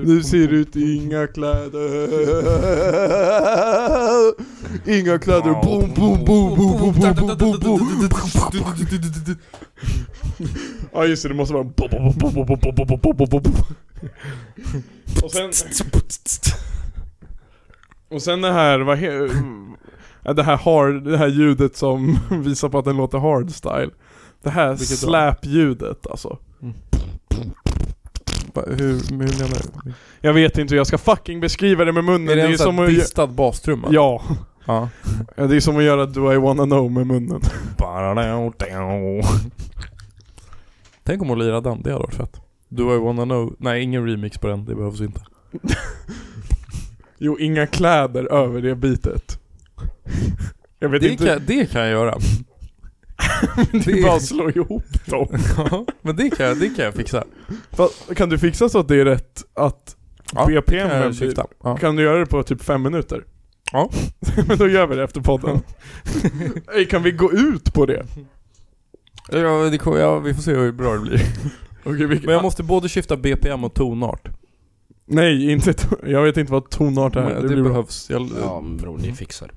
Du ser ut i inga kläder. Inga kläder. Boom, boom, boom, boom, boom, boom, boom, boom, boom. Ja just det, det måste vara bo- bo- bo- bo- bo- bo- bo- bo- bo- bo- bo- bo. Och sen... Och sen det här, vad he... ja, Det här hard, det här ljudet som visar på att den låter hardstyle. Det här
Vilket då?
släpljudet alltså.
Va, Hur, hur menar du?
Jag vet inte hur jag ska fucking beskriva det med munnen.
är det,
det är
en sån
som
här
att...
distad bastrumma?
Ja.
Ja.
Ja, Det är som att göra Do I wanna know med munnen.
Tänk om hon lirar den, det hade varit fett. Do I wanna know? Nej, ingen remix på den, det behövs inte.
Jo, inga kläder över det bitet. Jag vet
Det
inte,
kan, det kan jag göra.
det är bara att slå ihop dem.
Ja, men det kan jag, det kan jag fixa.
Fast, Kan du fixa så att det är rätt att
Ja, det
BPM
kan jag
blir-
skifta. Ja.
Kan du göra det på typ fem minuter?
Ja.
Men då gör vi det efter podden. Ey, kan vi gå ut på det?
Ja, det kommer, ja, vi får se hur bra det blir.
Okej, vi,
Men jag måste både skifta BPM och tonart.
Nej, inte ton- jag vet inte vad tonart
Det,
är.
det,
blir bra.
behövs. Jag,
Ja men bror, ni fixar det.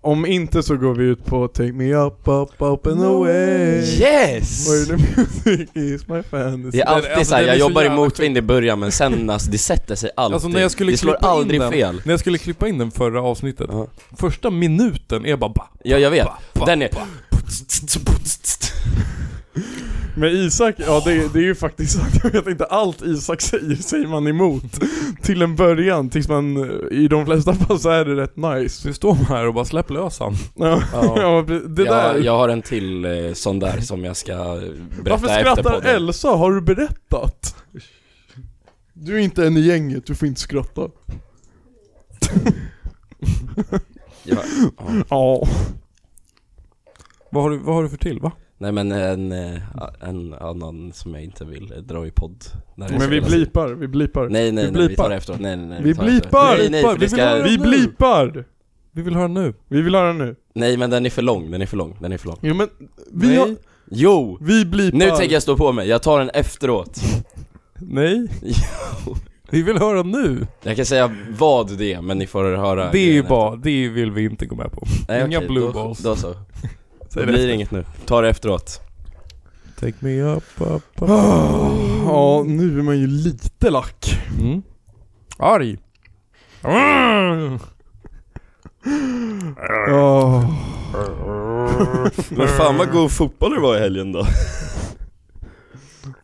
Om inte så går vi ut på Take me up, up, up and away.
Yes!
Where the music is my fantasy.
Det är alltid
Den- alltså,
såhär,
den
jag
är så
jobbar i
jävla
motvind i början men sen alltså, det sätter sig alltid.
Alltså, när jag skulle
det slår
klippa in
aldrig
den-
fel.
När jag skulle klippa in den förra avsnittet,
Ja.
första minuten är bara ba,
Ja jag vet.
ba, ba,
Den är...
ba.
Men Isak, ja det, det är ju faktiskt så att jag vet inte, allt Isak säger säger man emot. Till en början, tills man, eh, i de flesta fall så är det rätt nice.
Nu står man här och bara släpp lös han.
Ja, ja. det där.
Jag, jag har en till eh, sån där som jag ska eh, berätta
Varför
efter
skrattar
podden.
Elsa? Har du berättat? Du är inte en i gänget, du får inte skratta.
Ja, ja.
Ja.
Vad har du, vad har du för till va?
Nej men en, eh, en annan som jag inte vill eh, dra i podd. När det
Men vi
spelas.
blipar, vi blipar.
Nej nej
Vi
nej, vi
blipar.
tar det efteråt. Nej nej nej.
Vi
tar det efteråt.
blipar!
Nej nej, för
Vi
det
vill
ska...
höra-
Vi blipar!
Vi vill höra nu.
Vi vill höra nu.
Nej men den är för lång, den är för lång, den är för lång.
Jo men, vi,
Nej.
har,
Jo!
vi blipar.
Nu tänker jag stå på mig, jag tar den efteråt.
Nej. Vi vill höra nu.
Jag kan säga vad det är men ni får höra
Det är ju
grejen
bara, det vill vi inte gå med på.
efter. Nej,
inga
okej,
blue
då,
balls.
Då så.
Säg det.
Det blir inget nu, ta det efteråt.
Take me up, up, up.
Ah, Ja, nu är man ju lite lack.
Mm. Arg.
Ja.
Men fan vad god fotboll det var i helgen då.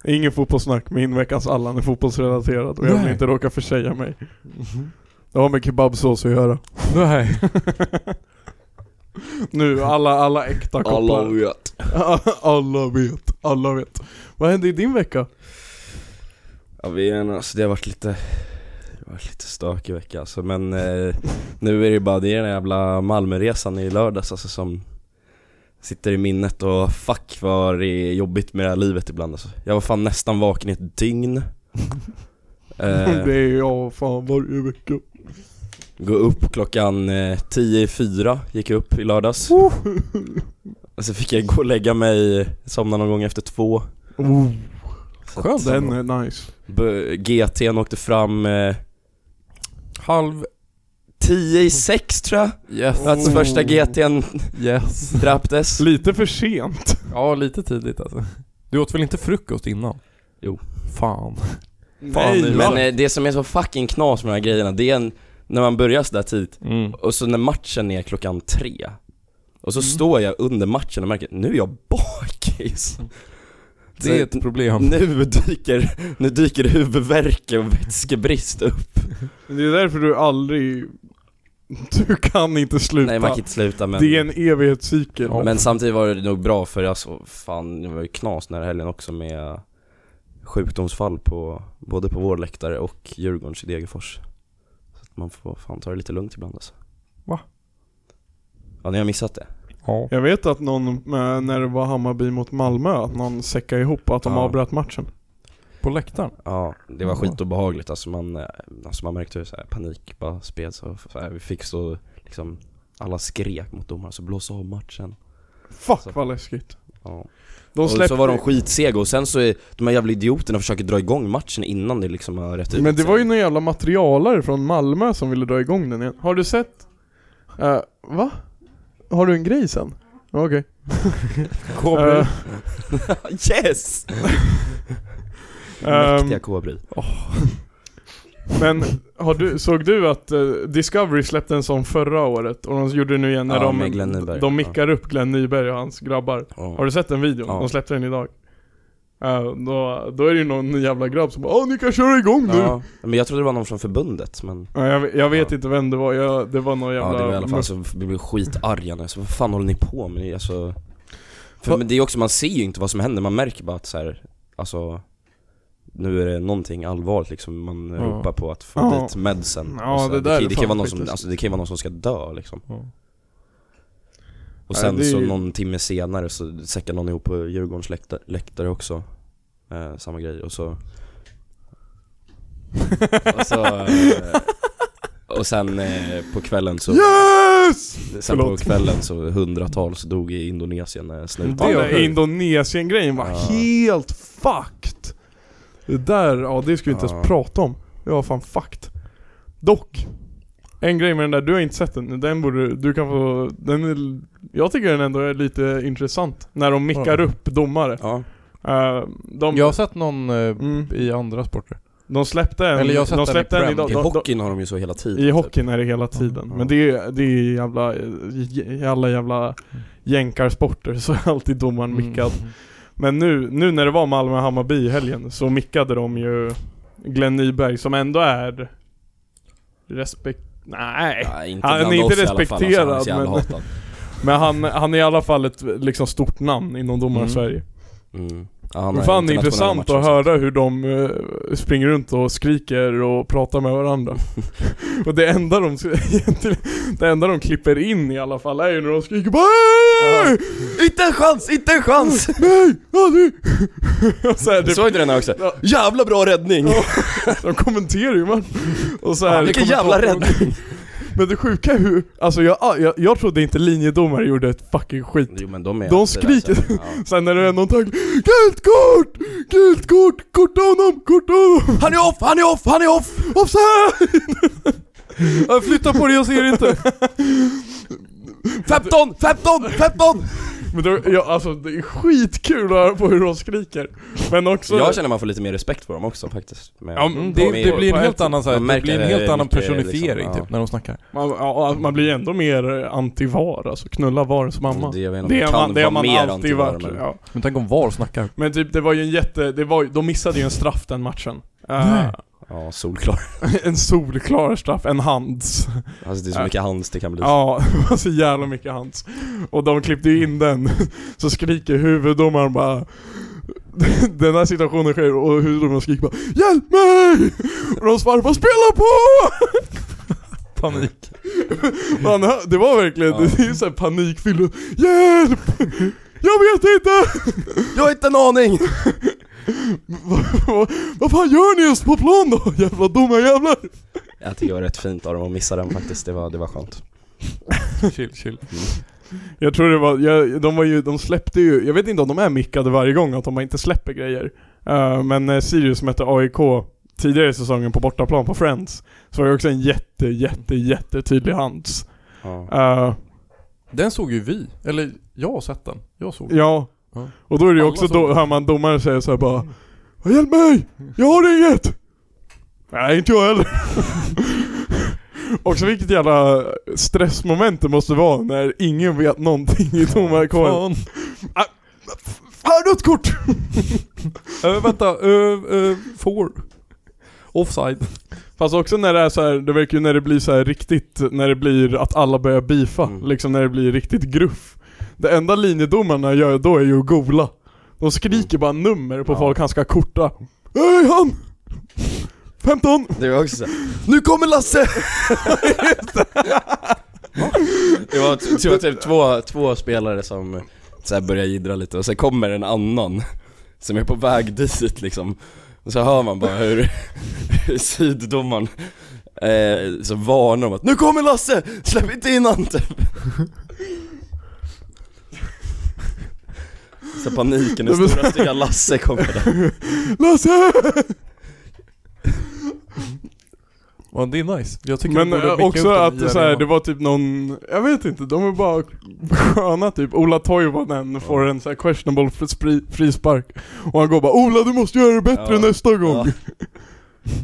Ingen fotbollssnack, min veckans Allan är fotbollsrelaterad och jag vill
Nej.
inte råka försäga mig.
Mhm.
Det har med kebabsås att göra.
Nej.
Nu, alla, alla äkta kopplar.
vet.
alla vet, alla vet. Vad hände i din vecka?
Ja vi är en, alltså det har varit lite, det har varit lite stökig vecka alltså men eh, nu är det bara det är den jävla Malmöresan i lördags alltså som sitter i minnet och fuck vad det är jobbigt med det här livet ibland alltså. Jag var fan nästan vaken i ett dygn. Eh,
Det är jag fan varje vecka.
Gå upp klockan eh, tio i fyra, gick jag upp i lördags Och så fick jag gå och lägga mig, somna någon gång efter två
Oh,
Så
Skönt,
att-
den är nice.
B- GT'n åkte fram eh,
Halv.
tio i sex tror jag
Yes.
Att första GT'n
Yes.
drapptes
Lite för sent.
Ja, lite tidigt alltså. Du åt väl inte frukost innan?
Jo.
Fan.
Nej,
Men eh, det som är så fucking knas med de här grejerna, det är en, när man börjar sådär tidigt
Mm.
Och så när matchen är klockan tre Och så står jag under matchen och märker, nu är jag bakis
Det är ett problem.
Nu dyker, nu dyker huvudvärk och vätskebrist upp.
Det är därför du aldrig... Du kan inte sluta.
Nej man kan inte sluta men,
Det är en evighetscykel.
Ja.
men samtidigt var det nog bra för alltså, fan det var ju knas den här helgen också med sjukdomsfall på, både på vår läktare och Djurgårdens i Degerfors. Så att man får fan ta det lite lugnt ibland alltså.
Va?
Ja ni har missat det?
Ja.
Jag vet att någon, eh, när det var Hammarby mot Malmö, att någon säckade ihop och att de
Ja.
avbröt matchen.
På läktaren?
Ja, det var
Ja.
skitobehagligt alltså man, eh, alltså man märkte hur så här, panik bara spreds och så här, vi fick så liksom, alla skrek mot domaren så blås av matchen.
Fuck
Så-
vad läskigt.
Ja.
De
Och
släppte...
så var de skitsega och sen så är de här jävla idioterna försöker dra igång matchen innan det liksom har rätt ut
Men det
sig.
var ju någon jävla materialare från Malmö som ville dra igång den igen. Har du sett? Eh, va? Har du en grej sen? Okej.
Kommer.
Eh,
Äh,
Yes!
Ehm,
Mäktiga kobri
Men har du, såg du att eh, Discovery släppte en sån förra året och de gjorde det nu igen när
Ja, med Glenn
de,
Nyberg.
de mickar upp Glenn Nyberg och hans grabbar. Har
ja.
du sett den videon?
Ja.
De släppte den idag. Eh, då, då är det ju någon jävla grabb som bara Åh ni kan köra igång nu!
ja, men jag trodde det var någon från förbundet men
Ja, jag, jag vet
Ja.
inte vem det var, jag, det var någon jävla...
Ja det var i alla
men-
fall så vi blev skitarga nu, så vad fan håller ni på med? Ni, Alltså, för men det är också, man ser ju inte vad som händer, man märker bara att så här, alltså nu är det någonting allvarligt liksom, man
Ja.
ropar på att få
Ja.
dit medsen
Ja,
Och så,
det där
kan,
är
det, kan
fan
vara någon som,
skitigt.
alltså, det kan ju vara någon som ska dö liksom
Ja.
Och
Ja,
sen
det är
så
ju-
någon timme senare så säckar någon ihop på Djurgårdens läktare, läktare också eh, Samma grej och så Och så eh, Och sen eh, på kvällen så
Yes!
Sen
Förlåt.
på kvällen så hundratals dog i Indonesien när snuten
Ja,
Det var
nej,
sjukt.
Indonesien-grejen var
Ja.
helt fucked! Det där, ja det ska vi inte
Ja.
ens prata om. Det var fan fucked. Dock, en grej med den där, du har inte sett den, den borde du kan få, den är, jag tycker den ändå är lite intressant. När de mickar
Ja.
upp domare.
Ja,
Eh, de,
Jag har sett någon eh,
mm,
i andra sporter.
de släppte en,
Eller jag har sett
de
den i
släppte en
Prem.
idag.
i
De- de-
hockeyn har de ju så hela tiden
I
typ.
hockeyn är det hela tiden.
Ja.
Men det är, det är jävla, i alla jävla
Mm.
jänkarsporter så är alltid domaren mickad. Men nu, nu när det var Malmö-Hammarby i helgen så mickade de ju Glenn Nyberg som ändå är respekt... Nej.
Nej, inte
Han är
bland
inte
oss i alla fall, alltså, han är
respekterad,
så jävla
men-
hatad.
Men han, han är i alla fall ett liksom stort namn inom domarsverige.
Mm. Ja, han
Mm.
har
Fan det är
internationella
intressant
matcher och
att
sånt.
höra hur de eh, springer runt och skriker och pratar med varandra. och det enda de egentligen- det enda de klipper in i alla fall är ju när de skriker bara "Hej!
Inte en chans, inte en chans!
Nej! Aldrig! Och så här, det,
Såg du den här också?
Ja.
Jävla bra räddning!
de kommenterar ju man. Och så här,
Vilken jävla räddning!
Men det sjuka är hur, alltså jag, jag, jag trodde inte linjedomare gjorde ett fucking skit.
Jo men de är
De
alltid där, så-
skriker.
ja.
Sen när det är någon tackling, gult kort! Gult kort! Korta honom! Korta honom!
Han är off, han är off, han är off!
Offside!
Jag flyttar på dig, jag ser inte!
15, 15, 15!
Men då, ja, alltså det är skitkul att höra på hur de skriker. Men också...
Jag känner man får lite mer respekt för dem också faktiskt med,
Ja,
Mm,
men
det,
de är-
det blir en
på
helt
ett-
annan, så här,
man
det
märker
blir en
det
helt annan
mycket,
personifiering
liksom, ja.
typ, när de snackar.
man, ja, man blir ändå mer antivar, alltså knulla varens mamma.
Det, jag vet inte,
Det är man, det är man alltid varit.
men-
Ja.
Men tänk om VAR snackar.
Men typ det var ju en jätte, det var, ju- de missade ju en straff den matchen. Eh,
Nej.
Ja, solklar.
en solklar straff, en hands.
Alltså det är så mycket hands det kan bli.
Ja, det var så jävla mycket hans. Och de klippte ju in den, så skriker huvuddomaren bara den här situationen sker och huvuddomaren skriker bara 'Hjälp mig!' Och de svarar bara 'Spela på!'
Panik.
Man, hör- det var verkligen,
Ja.
det är såhär panikfylld 'Hjälp! Jag vet inte!
Jag har inte en aning!
Vad- Vad fan gör ni ens på plan då? Jävla dumma jävlar!
Jag tycker det var rätt fint av dem att missa den faktiskt, det var, det var skönt.
Chill, chill.
Jag tror det var, jag, de var ju, de släppte ju, jag vet inte om de är mickade varje gång att de inte släpper grejer. Eh, men eh, Sirius mötte AIK tidigare i säsongen på bortaplan på Friends. Så var det också en jätte, jätte, jättetydlig hands.
Ja.
Eh,
Den såg ju vi. Eller, jag har sett den. Jag såg den.
ja.
Ja.
Och då är det ju
Alla
också,
som-
då hör man domaren säga såhär bara Hjälp mig! Jag har inget! Nej, inte jag heller. också vilket jävla stressmoment det måste vara när ingen vet någonting i domarkåren.
Fan.
Fan, rött kort!
Äh, vänta, uh, uh, får. Offside.
Fast också när det är så här, det verkar ju när det blir så här riktigt, när det blir att alla börjar beefa,
Mm.
liksom när det blir riktigt gruff. Det enda linjedomarna gör då är ju att gola. De skriker bara nummer på
Ja.
folk han ska korta. Hej han! 15!
Det var också så här, Nu kommer Lasse! det var t- tror jag, typ två, två spelare som så här börjar jiddra lite och sen kommer en annan som är på väg dit liksom. Och så hör man bara hur hur syddomaren eh, så varnar om att Nu kommer Lasse! Släpp inte in han typ. Så paniken, den stora stygga Lasse kommer där
Lasse!
Ja, det är nice. Jag tycker
Men
vi borde
eh,
blicka
också
ut den
att
nya
så här,
arenan.
det var typ någon, jag vet inte, de är bara sköna typ. Ola Toivonen får en så här questionable fri, frispark. Och han går bara 'Ola du måste göra det bättre
Ja.
nästa gång'
Ja.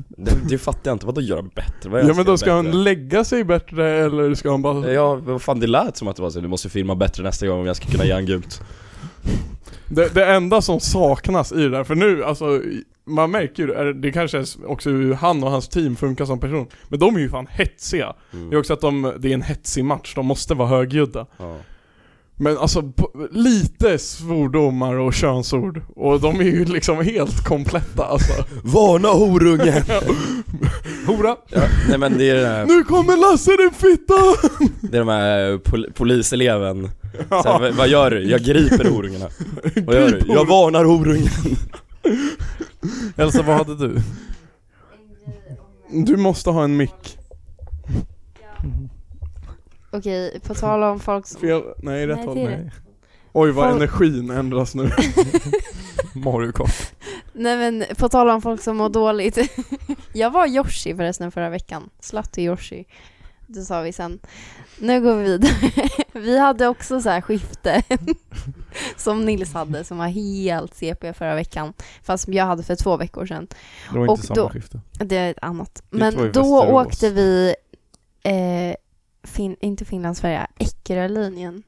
det, det fattar jag inte, vadå göra bättre? Vad är det
Ja
jag
men då ska
göra
han
bättre?
lägga sig bättre eller ska han bara...
Ja, vad fan det lät som att det var så, du måste filma bättre nästa gång om jag ska kunna ge han gult
Det, det enda som saknas i det där, för nu alltså man märker ju, är- det kanske är också hur han och hans team funkar som person Men de är ju fan hetsiga Det är också att de, det är en hetsig match, de måste vara högljudda
ja.
Men alltså, på- lite svordomar och könsord Och de är ju liksom helt kompletta alltså
Varna horungen!
Hora!
ja, nej men det är den här
Nu kommer Lasse din fitta!
Det är de här eh, pol- poliseleven så här, "Vad- Vad gör du? Jag griper horungarna Vad gör du? Jag varnar horungen
Elsa, vad hade du?
Du måste ha en mick
Okej, på tal om folk som...
Fel, nej rätt
Nej,
håll
det är
nej. Oj vad
Folk-
energin ändras nu
Mario Kart.
Nej men på tal om folk som mår dåligt. jag var Yoshi förresten förra veckan. Slatt och Yoshi. Det sa vi sen. Nu går vi vidare. vi hade också så här skifte. som Nils hade som var helt CP förra veckan. Fast jag hade för två veckor sedan.
Det var
Och
inte samma
då-
skifte.
Det är ett annat.
Ditt var i
Men då
Västerås.
åkte vi, eh, fin- inte Finland, Sverige, Eckerölinjen.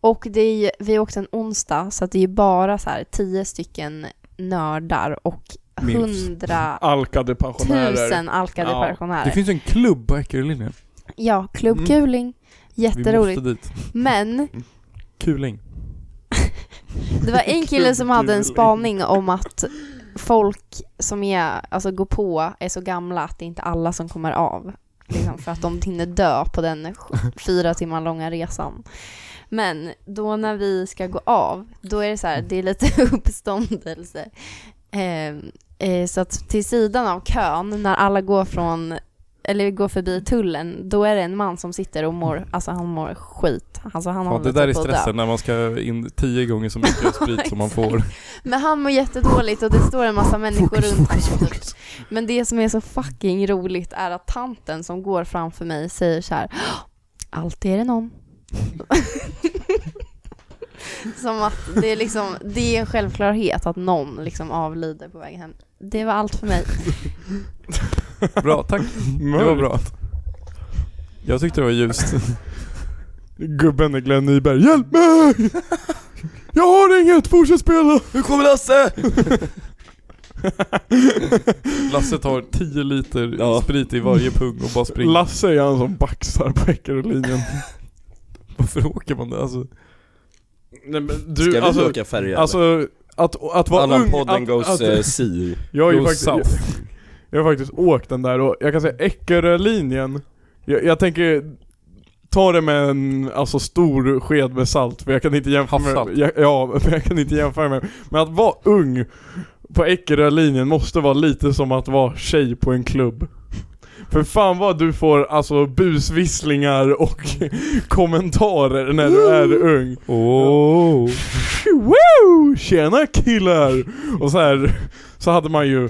Och det är ju, vi åkte en onsdag så att det är ju bara så här tio stycken nördar och
Milfs.
hundratusen
Alkade pensionärer
alkade
Ja,
Det
pensionärer.
finns en klubb på Eckerölinjen.
Ja, Klubb
Mm.
Kuling.
Vi måste
Jätteroligt.
dit.
Men
Kuling.
det var en kille som hade en spaning om att folk som är, alltså går på är så gamla att det är inte alla som kommer av. Liksom, för att de hinner dö på den sj- fyra timmar långa resan. Men då när vi ska gå av, då är det så här, det är lite uppståndelse. Ehm, eh, så att till sidan av kön, när alla går från eller går förbi tullen, då är det en man som sitter och mår, alltså han mår skit. Alltså han
Ja,
håller
det där
typ
är
på att dö.
stressen när man ska in tio gånger så mycket sprit som man får.
Men han mår jättedåligt och det står en massa människor runt honom. typ. Men det som är så fucking roligt är att tanten som går framför mig säger så här Alltid är det någon. som att det är liksom, det är en självklarhet att någon liksom avlider på vägen hem. Det var allt för mig.
Bra, tack. Det var bra. Jag tyckte det var ljust.
Gubben är Glenn Nyberg, hjälp mig! Jag har inget, fortsätt spela!
Nu kommer Lasse!
Lasse tar 10 liter
Ja.
sprit i varje pung och bara springer.
Lasse är han som baxar på Eckerölinjen
Varför åker man det? Alltså,
Nej men
Ska vi
du, alltså,
åka färja eller?
alltså att, att vara
Allan
ung,
podden
att,
goes
att,
eh, sea
jag, har ju
goes
faktiskt, jag,
south.
jag har faktiskt åkt den där och jag kan säga Eckerölinjen jag, jag tänker ta det med en alltså, stor sked med salt för jag kan inte jämföra med,
Havssalt.
jag, ja, men jag kan inte jämföra med Men att vara ung på Eckerölinjen måste vara lite som att vara tjej på en klubb. För fan vad du får alltså busvisslingar och kommentarer när du är ung.
oh.
Wow! Tjena killar! Och så här så hade man ju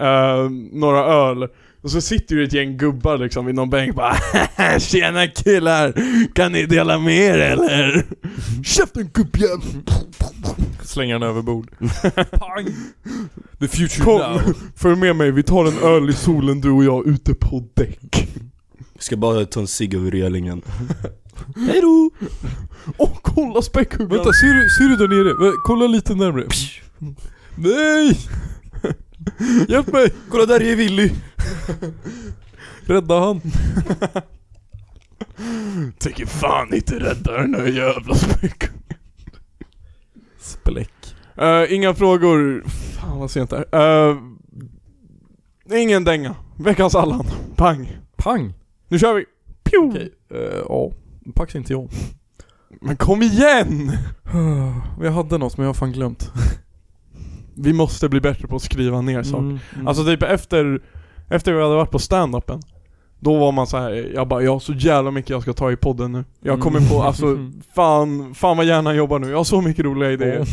eh, några öl och så sitter ju ett gäng gubbar liksom vid någon bänk bara Tjena killar! Kan ni dela med er eller? Käften gubbjävel!
Slänger den över bord. Pang! The future
Kom,
now.
följ med mig, vi tar en öl i solen du och jag ute på däck.
Ska bara ta en cigg över relingen Hejdå!
Åh, kolla späckhuggaren!
Vänta, ser du, ser du där nere? Va, Kolla lite närmre. Nej! Hjälp mig!
Kolla där är Willy!
Rädda han.
Tänker fan inte rädda den här jävla späckhuggaren.
Spläck.
Eh, inga frågor. Fan vad sent det är. Eh, ingen dänga. Veckans Allan. Pang.
Pang!
Nu kör vi! Pju!
Okej, eh, ja. Pax inte jag.
Men kom igen!
Jag hade något men jag har fan glömt.
Vi måste bli bättre på att skriva ner saker.
mm.
Alltså typ efter, efter vi hade varit på stand-upen Då var man så här, jag bara jag har så jävla mycket jag ska ta i podden nu Jag kommer
Mm.
på, alltså fan, fan vad hjärnan jobbar nu, jag har så mycket roliga idéer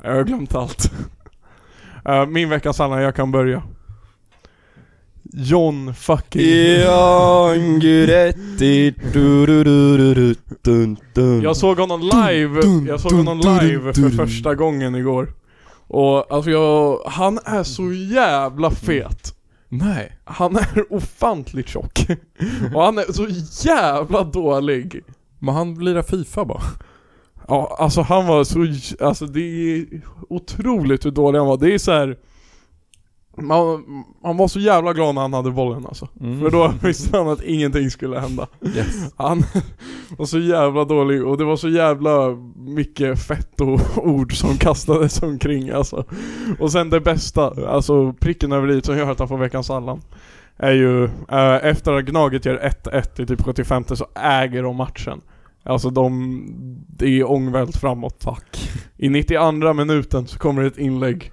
Ja.
Jag har glömt allt. Eh, min vecka sanna, jag kan börja. John fucking...
Jan Guidetti du, du, du, du, du, dun, dun.
Jag såg honom live, jag såg honom live för första gången igår. Och alltså jag, han är så jävla fet.
Nej.
Han är ofantligt tjock. Och han är så jävla dålig.
Men han lirar Fifa bara.
Ja, alltså han var så, j- alltså det är otroligt hur dålig han var. Det är så här. Man, man var så jävla glad när han hade bollen alltså.
Mm.
För då visste han att ingenting skulle hända.
Yes.
Han var så jävla dålig och det var så jävla mycket fett och ord som kastades omkring alltså. Och sen det bästa, alltså pricken över i som gör att han får veckans Allan. Är ju, eh, efter att Gnaget gör 1-1 i typ 75 så äger de matchen. Alltså de, det är ångvält framåt. Fuck. I 92 minuten så kommer det ett inlägg.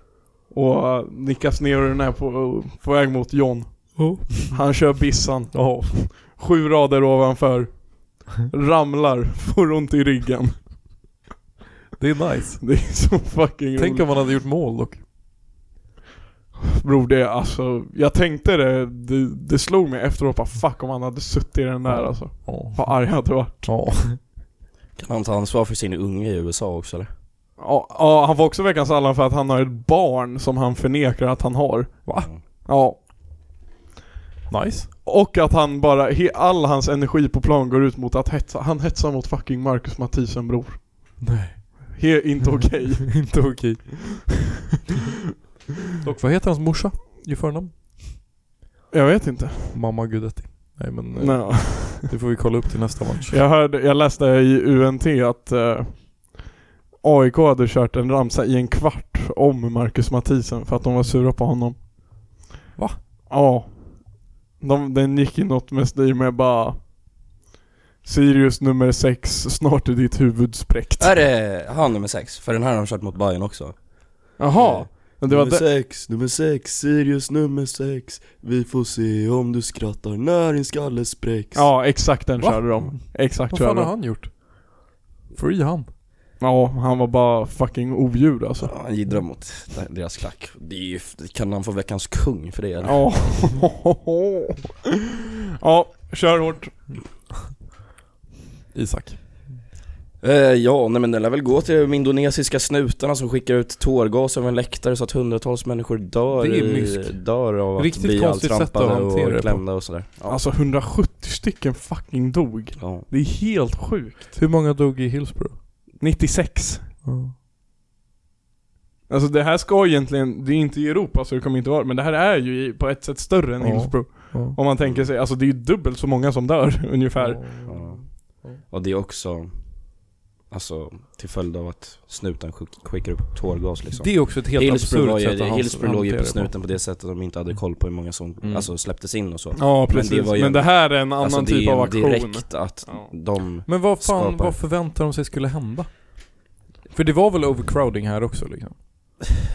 Och eh, nickas ner och den är på, på väg mot John. Han kör bissan. Sju rader ovanför. Ramlar, får ont i ryggen.
Det är nice.
Det är så fucking
Tänk
roligt.
om han hade gjort mål dock.
Bror det är alltså, jag tänkte det, det, det slog mig efteråt bara fuck om han hade suttit i den där alltså.
Ja.
Vad arg jag hade varit.
Ja.
Kan han ta ansvar för sin unge i USA också eller?
Ja, ja, han får också veckans Allan för att han har ett barn som han förnekar att han har.
Va?
Ja.
Nice.
Och att han bara, he, all hans energi på plan går ut mot att hetsa, han hetsar mot fucking Marcus Mathisen bror.
Nej.
He, inte okej.
Inte okej. dock, vad heter hans morsa i förnamn?
Jag vet inte.
Mamma Gudetti. Nej men eh,
Nej.
det får vi kolla upp till nästa match.
Jag, hörde, jag läste i UNT att eh, AIK hade kört en ramsa i en kvart om Marcus Mathisen för att de var sura på honom.
Va?
Ja. De, den gick i något med stil med bara Sirius nummer 6, snart är ditt huvud spräckt.
Är det han nummer sex? För den här har de kört mot Bayern också.
Jaha. Men det var
nummer
det.
sex, nummer sex, Sirius nummer sex. Vi får se om du skrattar när din skalle spräcks.
Ja, exakt den
Va?
körde de. Exakt
Vad fan
körde
har
de.
han gjort? Free han.
Ja, han var bara fucking odjur alltså.
Ja, Han jiddrar mot deras klack. Det är ju, kan han få veckans kung för det eller?
Ja. ja, kör hårt.
Isak.
Eh, ja, nej men det lär väl gå till de indonesiska snutarna som skickar ut tårgas över en läktare så att hundratals människor dör,
Det är
i-
mysk.
dör av att
Riktigt
bli
konstigt sätt att
alltrampade
hantera det på.
och klämda och sådär. Ja.
Alltså 170 stycken fucking dog.
Ja.
Det är helt sjukt.
Hur många dog i Hillsborough?
96. Alltså det här ska egentligen, det är inte i Europa så det kommer inte vara men det här är ju i- på ett sätt större än
Ja.
Hillsborough.
Ja.
Om man tänker sig, alltså det är ju dubbelt så många som dör ungefär.
Ja. Och det är också, alltså till följd av att snuten skick- skickar upp tårgas liksom.
Det är också ett helt
Hillsborough, var
absurt
ju,
sätt att han
Hillsborough låg ju
hanterar
på
det
snuten på det sättet att de inte hade koll på hur många som
Mm.
alltså, släpptes in och så.
Ja
det
precis, men
var
det,
ju en-
här är en annan
alltså,
typ
det är
av
ju
aktion.
direkt att
Ja.
de,
Men vad fan,
skapar.
vad förväntar de sig skulle hända? För det var väl overcrowding här också liksom?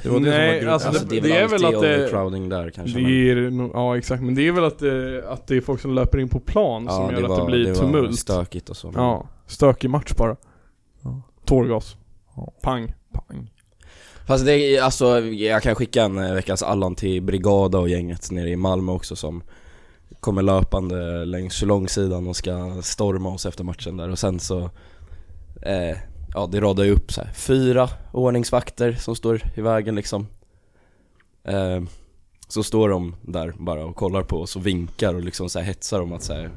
Det var det
Nej,
som var
alltså,
alltså,
grejen.
det-
det, är
det är
väl
väl
alltid
att det-
overcrowding där kanske. men-
Det är, nog- ja exakt, men det är väl att det, att det är folk som löper in på plan som gör att det blir
var
tumult.
stökigt och så. men-
ja, stökig match bara.
Ja.
Tårgas.
Ja.
Pang.
Pang.
Fast det är, alltså, jag kan skicka en eh, veckans Allan till Brigada och gänget nere i Malmö också som kommer löpande längs långsidan och ska storma oss efter matchen där och sen så eh, Ja det radar ju upp så här. fyra ordningsvakter som står i vägen liksom eh, Så står de där bara och kollar på oss och vinkar och liksom så här hetsar om att så här,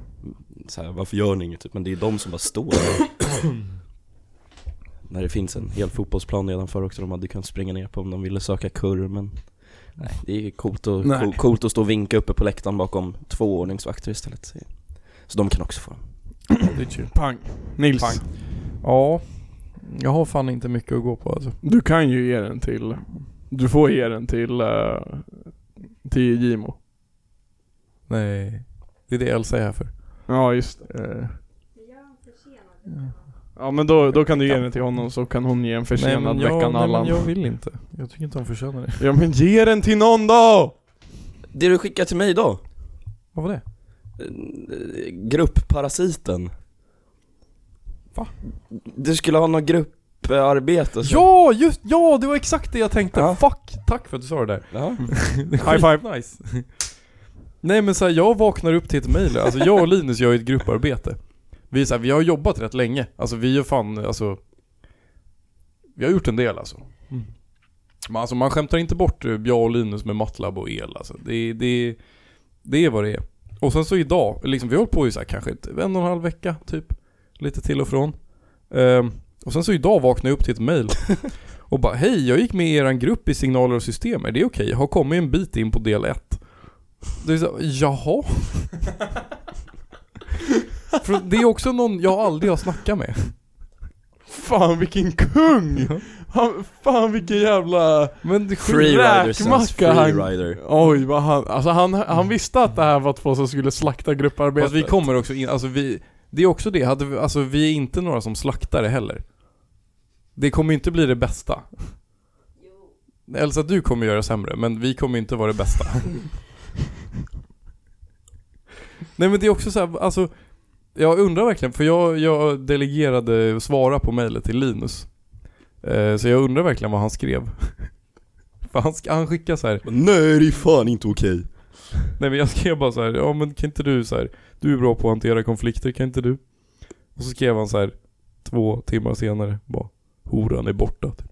så här, varför gör ni inget? Typ. Men det är de som bara står där När det finns en hel fotbollsplan nedanför också, de hade kunnat springa ner på om de ville söka kurr men Nej, det är ju coolt att,
Nej.
co- coolt att stå och vinka uppe på läktaren bakom två ordningsvakter istället Så de kan också få dem
Det är chill.
Pang. Nils.
Pang. Ja, jag har fan inte mycket att gå på alltså.
Du kan ju ge den till... Du får ge den till... eh, till Gimo.
Nej, det är det Elsa är här för.
Ja, just
Eh,
Ja men då, då kan du ge den till honom så kan hon ge en försenad
nej, men jag,
veckan
nej, men
Allan.
jag vill inte. Jag tycker inte hon förtjänar det.
Ja men ge den till någon då!
Det du skickade till mig idag,
Vad var det?
eh, gruppparasiten
Va?
Du skulle ha någon grupp grupparbete och så.
Ja, just, ja det var exakt det jag tänkte.
Ja.
Fuck, tack för att du sa det där.
Ja.
High five. Nice. Nej men så här, jag vaknar upp till ett mejl. Alltså jag och Linus gör ju ett grupparbete. Vi, är så här, vi har jobbat rätt länge. Alltså vi är fan, alltså. Vi har gjort en del alltså. Men, alltså man skämtar inte bort eh, jag och Linus med Matlab och el alltså. Det, det, det är vad det är. Och sen så idag, liksom, vi har hållit på i så här, kanske ett- en och en halv vecka typ. Lite till och från. Ehm, och sen så idag vaknade jag upp till ett mejl. Och bara hej, jag gick med i eran grupp i signaler och system, är det okej? Har kommit en bit in på del 1. Det är så, jaha? För det är också någon jag aldrig har snackat med.
Fan vilken kung! Han, fan vilken jävla...
Men det är skit.
Freerider sens,
Räkmacka, han-
freerider.
Oj vad han, alltså han, han visste att det här var två som skulle slakta grupparbetet.
Fast vi kommer också in, alltså vi, det är också det, hade vi, alltså vi är inte några som slaktare heller. Det kommer ju inte bli det bästa. Elsa, du kommer göra sämre, men vi kommer inte vara det bästa. Nej men det är också så här, alltså jag undrar verkligen, för jag, jag delegerade svara på mejlet till Linus. Eh, så jag undrar verkligen vad han skrev. för han, sk- han skickade så här,
Nej det är fan inte okej.
Nej men jag skrev bara så här, ja men kan inte du så här, du är bra på att hantera konflikter, kan inte du? Och så skrev han så här två timmar senare, bara horan är borta. Typ.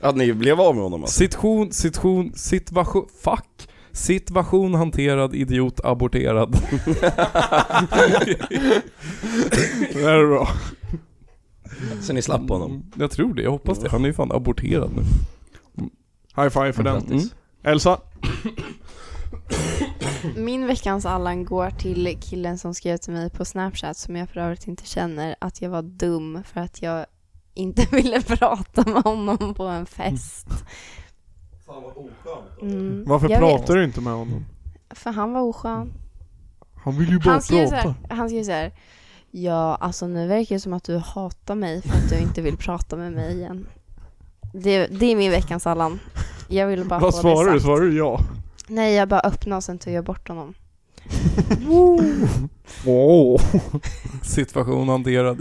Att ni blev av med honom alltså?
Situation, situation, situation, fuck. Situation hanterad, idiot aborterad.
Det här är bra.
Så ni slapp honom?
Mm, Jag tror det, jag hoppas det. Han är ju fan aborterad nu.
High five för den.
Mm.
Elsa?
Min veckans Allan går till killen som skrev till mig på Snapchat som jag för övrigt inte känner att jag var dum för att jag inte ville prata med honom på en fest. Mm,
Varför
jag
pratar du inte med honom?
Vet, för han var oskön.
Han vill ju bara
Han skrev, så
prata.
här, han skrev så här. Ja, alltså nu verkar det som att du hatar mig för att du inte vill prata med mig igen. Det, det är min veckans Allan. Jag ville bara
Vad
få
svarar
det
du?
sagt.
Svarar du ja?
Nej, jag bara öppnade och sen tog jag bort honom.
Wow.
Situation hanterad,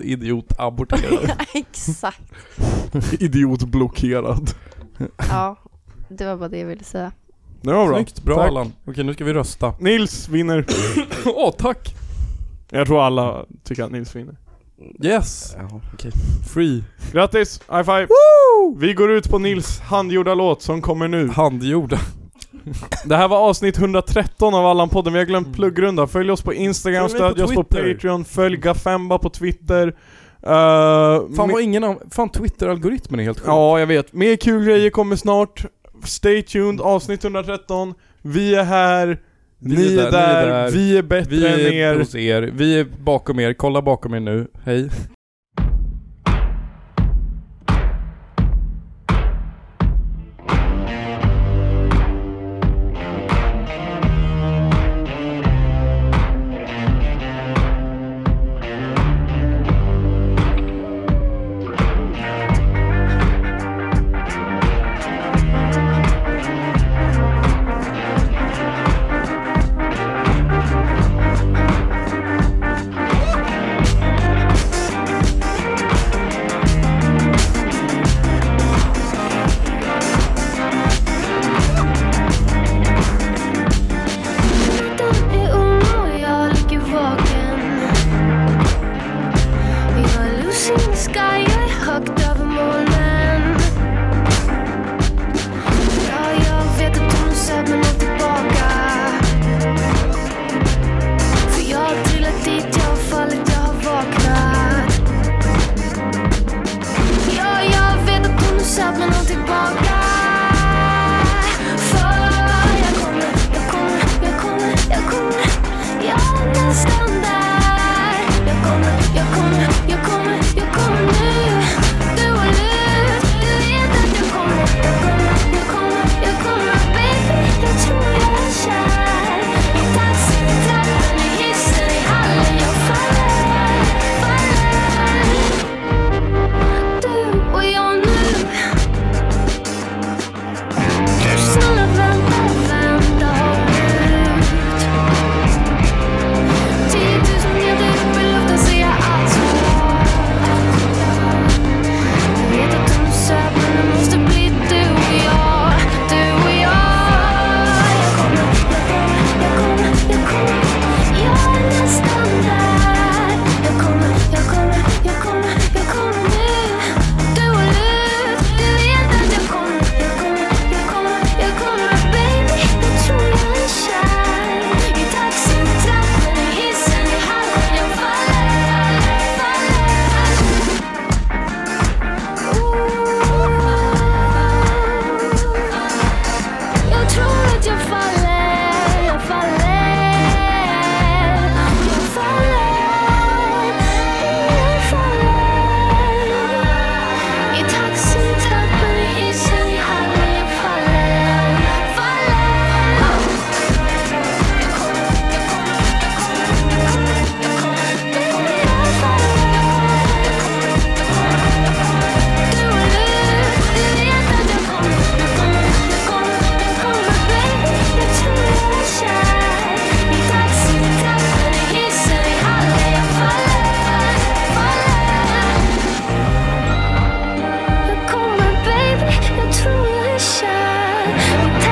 idiot aborterad.
Ja, Exakt.
Idiot blockerad.
Ja, det var bara det jag ville säga.
Det var bra.
Snyggt, bra
Tack.
Allan. Okej nu ska vi rösta.
Nils vinner.
Åh tack!
Jag tror alla tycker att Nils vinner.
Yes!
Ja, okej.
Free.
Grattis! High five! Vi går ut på Nils handgjorda låt som kommer nu.
Handgjorda.
Mm. Det här var avsnitt 113 av Allan-podden, vi har glömt pluggrunda. Följ oss på Instagram,
Följ mig på
stödj oss på
Twitter.
Patreon, följ Gafemba på Twitter. Uh,
Fan vad ingen an- Fan Twitter-algoritmen är helt sjuk.
Ja, jag vet. Mer kul grejer kommer snart. Stay tuned, avsnitt 113. Vi är här,
Vi
ni är där, vi är bättre
Vi
än
är
er.
hos er, vi är bakom er, kolla bakom er nu, hej.
Come